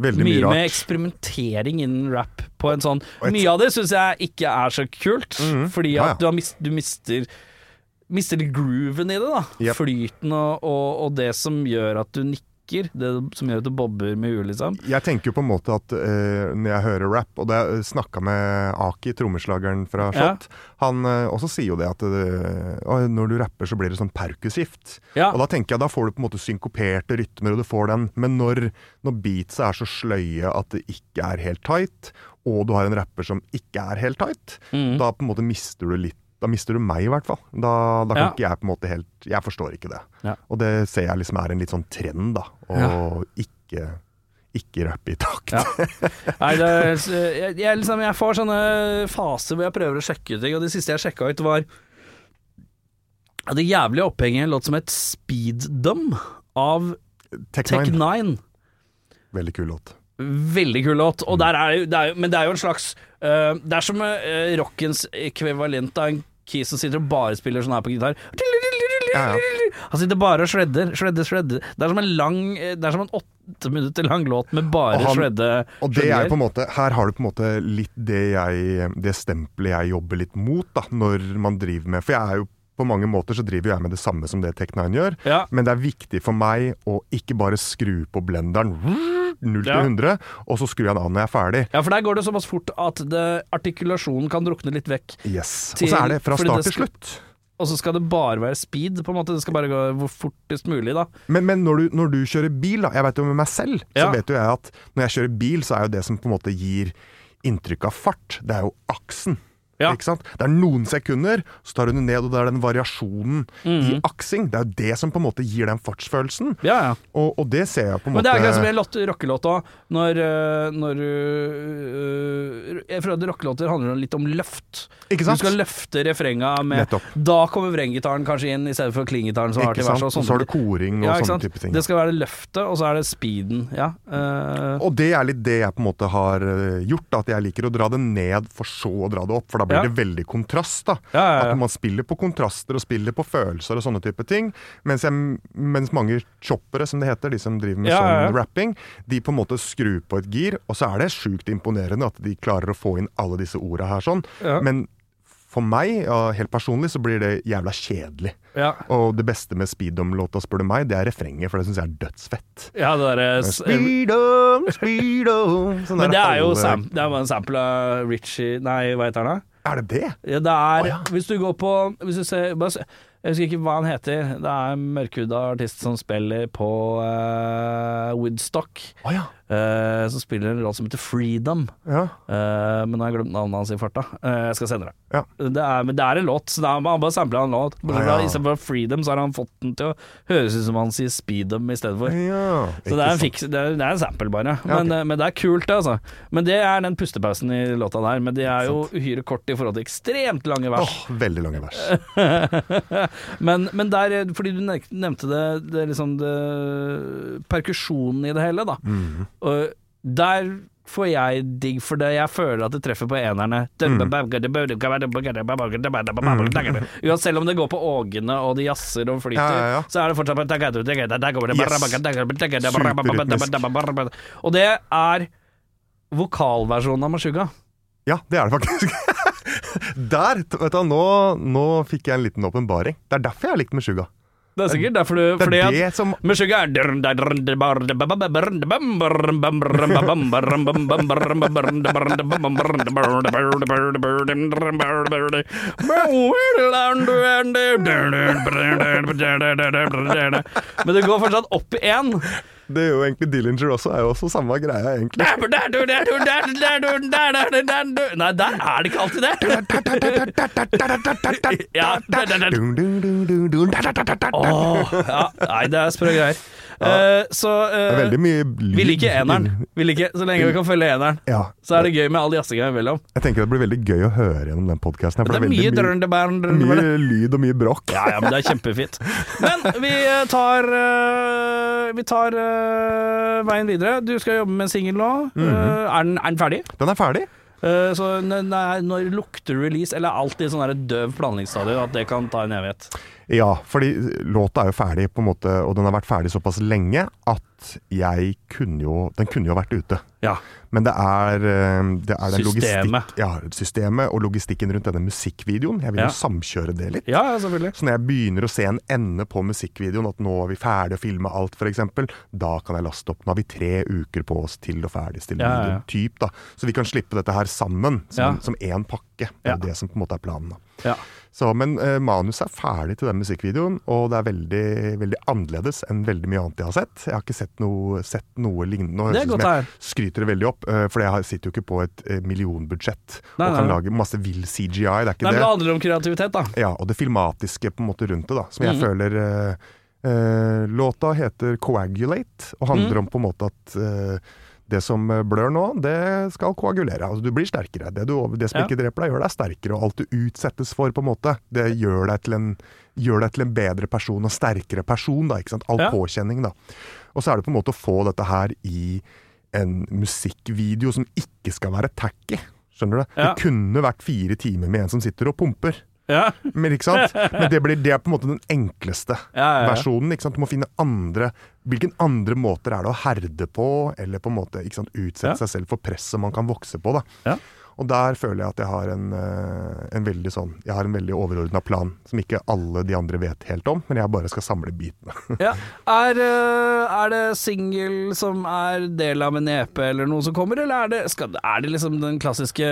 Veldig
Mye,
mye
med
rart.
eksperimentering innen rap. På en sånn
et- Mhm.
Mye av det syns jeg ikke er så kult, fordi
Ja, ja.
at du, har mist, du mister Mister grooven i det, da.
Yep.
Flyten og, og, og det som gjør at du nikker. Det som gjør at du bobber med huet, liksom.
Jeg tenker jo på en måte at eh, når jeg hører rap, og det snakka med Aki, trommeslageren fra
Ja.
Shot, han eh, også sier jo det at eh, «Å, når du rapper så blir det sånn perkusskift.
Ja.
Og da tenker jeg da får du på en måte synkoperte rytmer, og du får den. Men når, når beatsa er så sløye at det ikke er helt tight, og du har en rapper som ikke er helt tight,
Mm.
da på en måte mister du litt da mister du meg, i hvert fall. Da, da kan
Ja.
ikke jeg på en måte helt Jeg forstår ikke det.
Ja.
Og det ser jeg liksom er en litt sånn trend, da. Å ikke, ikke rappe i takt.
Ja. Nei, det er, jeg, jeg, liksom, jeg får sånne faser hvor jeg prøver å sjekke ut ting, og det siste jeg sjekka ut, var det jævlige opphenget i en låt som het Speed Dum av
Tech
Tech
Nine,
Nine.
veldig kul låt.
Veldig kul låt,
Mm.
og der er, jo- det er, jo- men det er jo en slags øh, Det er som øh, rockens ekvivalent av en key som sitter og bare spiller sånn her på gitar.
Ja, ja.
Han sitter bare og shredder, shredder, shredder. Det er som en lang øh, Det er som en åtte minutter lang låt med bare
Og han-
shredde
Og det er på en måte, Her har du på en måte litt det, jeg, det stempelet jeg jobber litt mot, da, når man driver med For jeg er jo på mange måter så driver jeg med det samme som det Tech9 gjør,
Ja.
men det er viktig for meg å ikke bare skru på blenderen 0
Ja.
til 100, og så skrur jeg den av når jeg er ferdig.
Ja, for der går det såpass fort at det, artikulasjonen kan drukne litt vekk,
Yes.
Til-
Og så er det fra
fordi
start
det
til slutt.
og så skal det bare være speed, på en måte. Det skal bare gå hvor fortest mulig, da.
Men, men når, du, når du kjører bil, da, jeg vet jo med meg selv, så
Ja.
vet jo jeg at når jeg kjører bil, så er jo det som på en måte gir inntrykk av fart, det er jo aksen.
Ja.
Ikke sant? Det er noen sekunder, så tar du den ned, og det er den variasjonen i aksing. Det er jo det som på en måte gir den fartsfølelsen,
Mhm. Ja, ja.
og, og det ser jeg på
Men
en måte
det er akkurat som i en låt- rockelåt òg, når, øh, når øh, øh, Jeg føler at rockelåter handler litt om løft.
Ikke sant?
Du skal løfte refrenga med
Nettopp.
Da kommer vrengitaren kanskje inn, i stedet for klinggitaren som har
Ikke
til
sant?
verset.
Og så har du koring og
sånn- ja, ikke
sånne
sant?
type ting.
Det skal være løftet, og så er det speeden. Ja. øh,
Og det er litt det jeg på en måte har eh, gjort, da, at jeg liker å dra det ned for så å dra det opp, for da blir
Ja.
det veldig kontrast. da.
Ja, ja, ja.
At man spiller på kontraster og spiller på følelser og sånne type ting, mens, jeg, mens mange choppere, som det heter, de som driver med
Ja, ja, ja.
sånn rapping, de på en måte skrur på et gir, og så er det sjukt imponerende at de klarer å få inn alle disse orda her sånn,
Ja.
men for meg, ja, helt personlig, så blir det jævla kjedelig.
ja.
Og det beste med Speedom-låta, spør du meg, det er refrenget, for det syns jeg er dødsfett.
ja, det derre
Speedom, speedom Sånn
Men
der
det er jo
halve-
sam det er bare en sample av Richie Nei, hva heter han da?
Er det det?
Ja, det er
Å, ja.
Hvis du går på hvis du ser, bare, se- Jeg husker ikke hva han heter. Det er en mørkhuda artist som spiller på eh, Woodstock.
Å ja.
eh, som spiller en låt som heter Freedom.
ja.
Eh, men nå har jeg glemt navnet hans i farta. Eh, jeg skal sende det.
Ja.
det er, men det er en låt, så det er, han bare sampler en låt. Bortsett fra
Ja, ja.
Istedenfor Freedom, så har han fått den til å høres ut som han sier Speedom i stedet for.
ja.
Så det er, en fiks, det, er, det er en sample, bare. Men,
ok.
eh, men det er kult, det, altså. Men det er den pustepausen i låta der. Men det er jo uhyre kort i forhold til ekstremt lange
Åh,
vers.
veldig lange vers.
*laughs* men, men der, eh, fordi du nek- nevnte det, det er liksom det Perkusjonen i det hele, da.
Mhm.
Og der får jeg digg for det. Jeg føler at det treffer på enerne.
Mm.
Mm. Uansett selv om det går på ågene og de jazzer og flyter,
Ja, ja, ja.
så er det fortsatt yes.
Superrytmisk.
*laughs* Og det er vokalversjonen av Mashuga.
Ja, det er det faktisk. *laughs* Der, t- vet du, nå, nå fikk jeg en liten åpenbaring. Det er derfor jeg har likt Meshuga.
Det er sikkert derfor du
Det
fordi
er
at
det som
Mashuga er Men det går fortsatt opp i én.
Det er jo egentlig Dillinger også, er jo også samme greia,
*laughs*
egentlig.
Nei, der er det ikke alltid det. Ja, det- det- det-
Dun, dun, dun, dun, dun, da, da, da, da, da.
Åh, ja, nei, det er sprø greier. Eh, så
Det er
eh,
veldig mye
vi liker eneren. Vi liker, så lenge vi kan følge eneren,
Ja.
så er det gøy med all jazzinga imellom.
Jeg tenker det blir veldig gøy å høre gjennom den podkasten.
Det er mye drønn, det bæren, drønn, drønn.
Mye lyd og mye bråk.
Ja, ja, men det er kjempefint. *laughs* Men vi eh, tar eh, Vi tar Mhm. eh, veien videre. Du skal jobbe med en singel nå. Eh, er, den, er den ferdig?
Den er ferdig.
Eh, Så når, når- når lukter release, eller er alltid sånn der døv planleggingsstadium at det kan ta en evighet?
Ja, fordi låta er jo ferdig, på en måte, og den har vært ferdig såpass lenge at jeg kunne jo Den kunne jo vært ute.
Ja.
Men det er, eh, det er den
Systemet.
logistikk- Ja, systemet og logistikken rundt denne musikkvideoen. Jeg vil
Ja.
jo samkjøre det litt.
Ja, ja, selvfølgelig.
Så når jeg begynner å se en ende på musikkvideoen, at nå er vi ferdig å filme alt f.eks., da kan jeg laste opp. Nå har vi tre uker på oss til å ferdigstille
Ja, ja, ja.
videoen. Typ, da. Så vi kan slippe dette her sammen,
Ja.
som, som én pakke. Det er
Ja.
jo det som på en måte er planen. da.
Ja.
Så, men eh, manuset er ferdig til den musikkvideoen, og det er veldig, veldig annerledes enn veldig mye annet jeg har sett. Jeg har ikke sett noe, sett noe lignende. Nå
Det er
høres
godt
som
her.
jeg skryter det veldig opp, eh, for jeg har- sitter jo ikke på et eh, millionbudsjett og
Nei, nei,
kan
nei.
lage masse vill CGI. Det er ikke
Nei, men
det.
det handler om kreativitet, da.
Ja, og det filmatiske på en måte rundt det, da. Som jeg
Mhm.
føler eh, eh, Låta heter 'Coagulate', og
Mhm.
handler om på en måte at eh, det som eh, blør nå, det skal koagulere. Altså, du blir sterkere. Det, du, det som
Ja.
ikke dreper deg, gjør deg sterkere. Og alt du utsettes for, på en måte, det gjør deg til en, gjør deg til en bedre person og sterkere person. Da, ikke sant? All
Ja.
påkjenning, da. Og så er det på en måte å få dette her i en musikkvideo som ikke skal være tacky. Skjønner du?
Ja.
Det kunne vært fire timer med en som sitter og pumper.
Ja,
Men, ikke
*laughs*
sant? Men det, blir, det er på en måte den enkleste
ja, ja.
versjonen. Ikke sant? Du må finne andre Hvilken andre måter er det å herde på, eller på en måte ikke sant? utsette
Ja.
seg selv for press som man kan vokse på. Da.
Ja.
Og der føler jeg at jeg har en, eh, en veldig sånn Jeg har en veldig overordna plan som ikke alle de andre vet helt om, men jeg bare skal samle bitene. *laughs*
ja. Er, eh, er det singel som er del av en EP eller noe som kommer, eller er det, skal, er det liksom den klassiske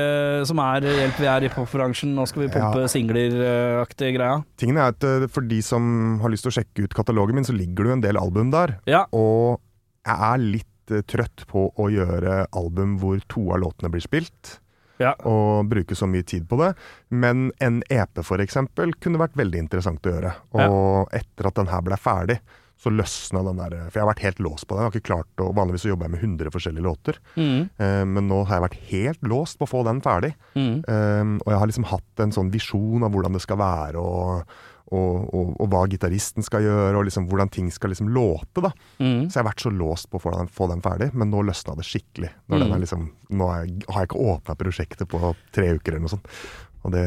som er eh, 'hjelp, vi er i popbransjen, nå skal vi pumpe
Ja.
singler'-aktige greia?
Tingen er at eh, For de som har lyst til å sjekke ut katalogen min, så ligger det jo en del album der.
Ja.
Og jeg er litt eh, trøtt på å gjøre album hvor to av låtene blir spilt,
Ja.
og bruke så mye tid på det. Men en EP, for eksempel, kunne vært veldig interessant å gjøre. Og etter at den her ble ferdig, så løsna den der For jeg har vært helt låst på den. Jeg har ikke klart å, Vanligvis så jobber jeg med 100 forskjellige låter,
Mm.
eh, men nå har jeg vært helt låst på å få den ferdig.
Mm.
Um, og jeg har liksom hatt en sånn visjon av hvordan det skal være, og, og, og, og hva gitaristen skal gjøre, og liksom hvordan ting skal liksom låte. da.
Mm.
Så jeg har vært så låst på å få den, få den ferdig, men nå løsna det skikkelig. Når
Mm.
den er liksom, nå er, jeg- har jeg ikke åpna prosjektet på tre uker eller noe sånt. Og, det,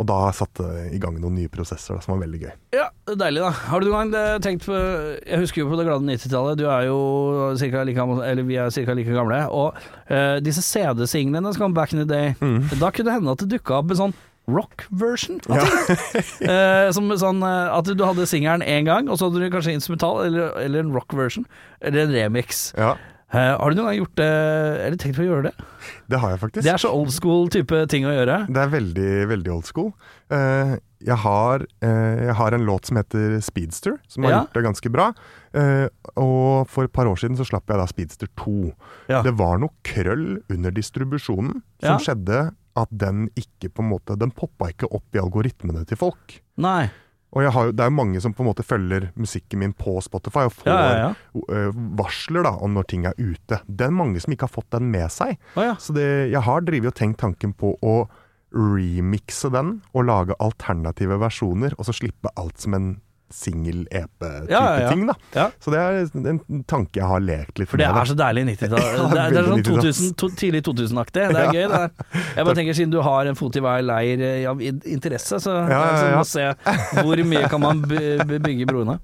og da satte jeg eh, i gang noen nye prosesser da, som var veldig gøy.
Ja, det er deilig da. Har du noen gang eh, tenkt på Jeg husker jo på det glade 90-tallet, du er jo cirka like, gammel- eller vi er ca. like gamle. Og eh, disse CD-singlene som kom back in the day, da kunne det hende at det dukka opp en sånn rock-version. av *laughs* ting. Eh, som sånn eh, at du hadde singelen én gang, og så hadde du kanskje instrumental, eller, eller en rock-version, eller en remix.
Ja,
Eh, har du noen gang gjort det, eller tenkt på å gjøre det?
det har jeg faktisk.
Det er så old school type ting å gjøre.
Det er veldig, veldig old school. Eh, jeg, har, eh, jeg har en låt som heter Speedster, som har
Ja.
gjort det ganske bra. Eh, og for et par år siden så slapp jeg da Speedster 2.
Ja.
Det var noe krøll under distribusjonen
Ja.
som skjedde at den ikke på en måte Den poppa ikke opp i algoritmene til folk.
Nei.
Og jeg har, jo- det er jo mange som på en måte følger musikken min på Spotify og får
Ja, ja, ja.
eh, varsler da om når ting er ute. Det er mange som ikke har fått den med seg.
Å ja.
Så det, jeg har drevet og tenkt tanken på å remixe den og lage alternative versjoner, og så slippe alt som en singel-EP-type
Ja, ja, ja.
ting. da.
Ja.
Så det er en tanke jeg har lekt litt
For det
med. da.
er så deilig
*laughs*
90-tallet. Det, er- det er sånn 2000, to, tidlig 2000-aktig. Det er gøy, det der. Jeg bare tenker, siden du har en fot i hver leir eh, av in- interesse, så er det
Ja, ja, ja.
sånn å se hvor mye kan man by- by- bygge broene.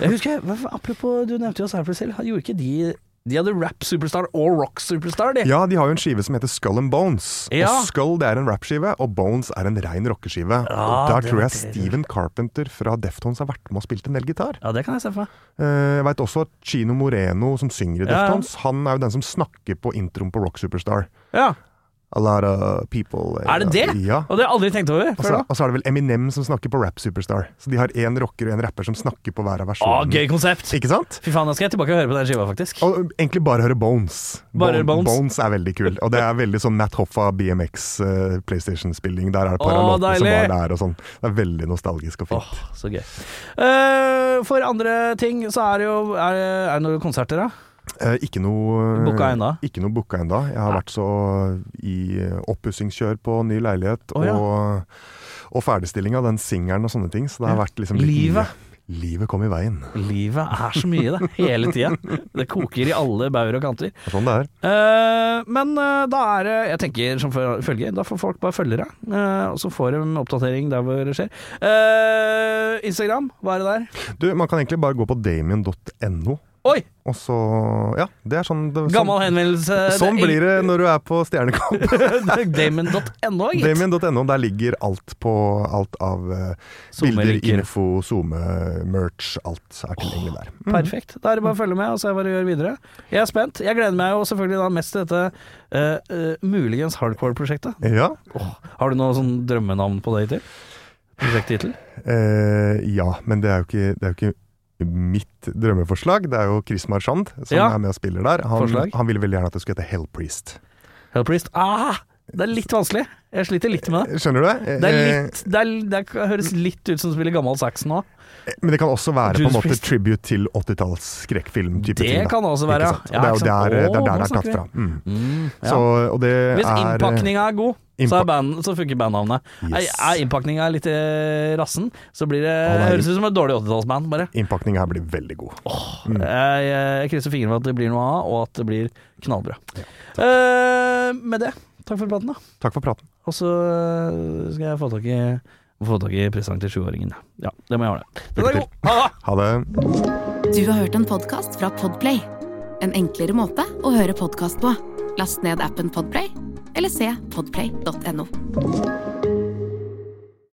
Jeg husker, hva faen, Apropos, du nevnte jo Cypress Hill. Gjorde ikke de De hadde rap superstar og rock superstar, de.
*laughs* Ja, de har jo en skive som heter Skull and Bones.
Ja.
Og Skull det er en rapskive, og Bones er en rein rockeskive.
Ja,
Og der
det
tror
er
jeg
det.
Steven Carpenter fra Deftones har vært med og spilt en del gitar.
Ja, det kan jeg se for meg.
Eh, Jeg veit også at Chino Moreno, som synger
Ja,
i
ja.
Deftones, han er jo den som snakker på introen på Rock Superstar.
Ja.
A lot of people eh,
Er det det?
Ja. Altså,
Og det har jeg aldri tenkt over
Og
før
så,
nå.
og så er det vel Eminem som snakker på Rap Superstar. Så de har én rocker og én rapper som snakker på hver av
Å,
versjonene.
gøy konsept!
Ikke sant?
Fy faen, da skal jeg tilbake og høre på den skiva, faktisk.
Og egentlig bare høre Bones.
Bare høre Bones.
er veldig kul. Og det er veldig sånn Nat Hoffa BMX eh, PlayStation-spilling. Der er det et par av
Å,
låtene som
deilig.
var der og sånn. Det er veldig nostalgisk og
Åh,
fint.
så gøy. Eh, for andre ting så er det jo Er, det- er det noen konserter, da?
Eh, ikke noe
Booka ennå?
Ikke noe booka ennå. Jeg har vært så i eh, oppussingskjør på ny leilighet
Å, ja.
og, og ferdigstilling av den singelen og sånne ting. Så det har vært liksom litt
Livet.
mye. Livet kom i veien. Det
Livet er så mye, det. Hele tida. Det koker i alle bauger og kanter.
er sånn det er.
Eh, men eh, da er det Jeg tenker som føl- følger, da får folk bare følge deg. eh, og så får de oppdatering der hvor det skjer. Eh, Instagram, hva er det der?
Du, man kan egentlig bare gå på damien.no,
Oi!
og så Ja, det er sånn det,
Gammel eh,
sånn,
henvendelse.
sånn blir det når du er på Stjernekamp. *laughs*
*laughs* Damon.no, gitt.
Damien.no, der ligger alt på alt av eh, bilder,
Sommerlinker.
info, SoMe, merch. Alt er tilgjengelig der. Mm.
Perfekt. Da er det bare å følge med og se hva du gjør videre. Jeg er spent. Jeg gleder meg jo selvfølgelig da mest til dette eh, eh, muligens hardcore-prosjektet.
Ja.
Åh, har du noe sånn drømmenavn på det hittil? Prosjekttittel?
Eh, ja, men det er jo ikke, det er jo ikke mitt drømmeforslag. Det er jo Chris Marchand som
Ja.
er med og spiller der. Han,
Forslag.
han ville veldig gjerne at det skulle hete Hellpriest.
Hellpriest? Ah, det er litt vanskelig. Jeg sliter litt med det.
Skjønner du det?
Det, er
Eh,
litt, det, er, det er- høres litt ut som å spille gammel sax nå.
eh, Men det kan også være på
Judas
en måte
Priest.
tribute til 80-talls skrekkfilm-type ting.
Det
da.
kan det også
Ikke
være.
sant? Og det er jo der det er, der det er tatt fra. Mm.
ja.
Så, og det
Hvis
er eh,
innpakninga er god, så, er
innpa-
band, så funker bandnavnet.
Yes.
Er, er innpakninga litt eh, rassen, så blir det,
det er-
høres ut som et dårlig 80-tallsband, bare.
Innpakninga her blir veldig god. Mm.
Jeg, jeg krysser fingrene for at det blir noe av, og at det blir knallbra. Eh, med det, takk for praten, da.
Takk for praten.
Og så eh, skal jeg få tak i få tak i presang til sjuåringen. ja. Ja, det må jeg ordne. Den er
Lykke til.
god! Ha det!
Ha det.
Du har hørt en podkast fra Podplay. En enklere måte å høre podkast på. Last ned appen Podplay, eller se podplay.no.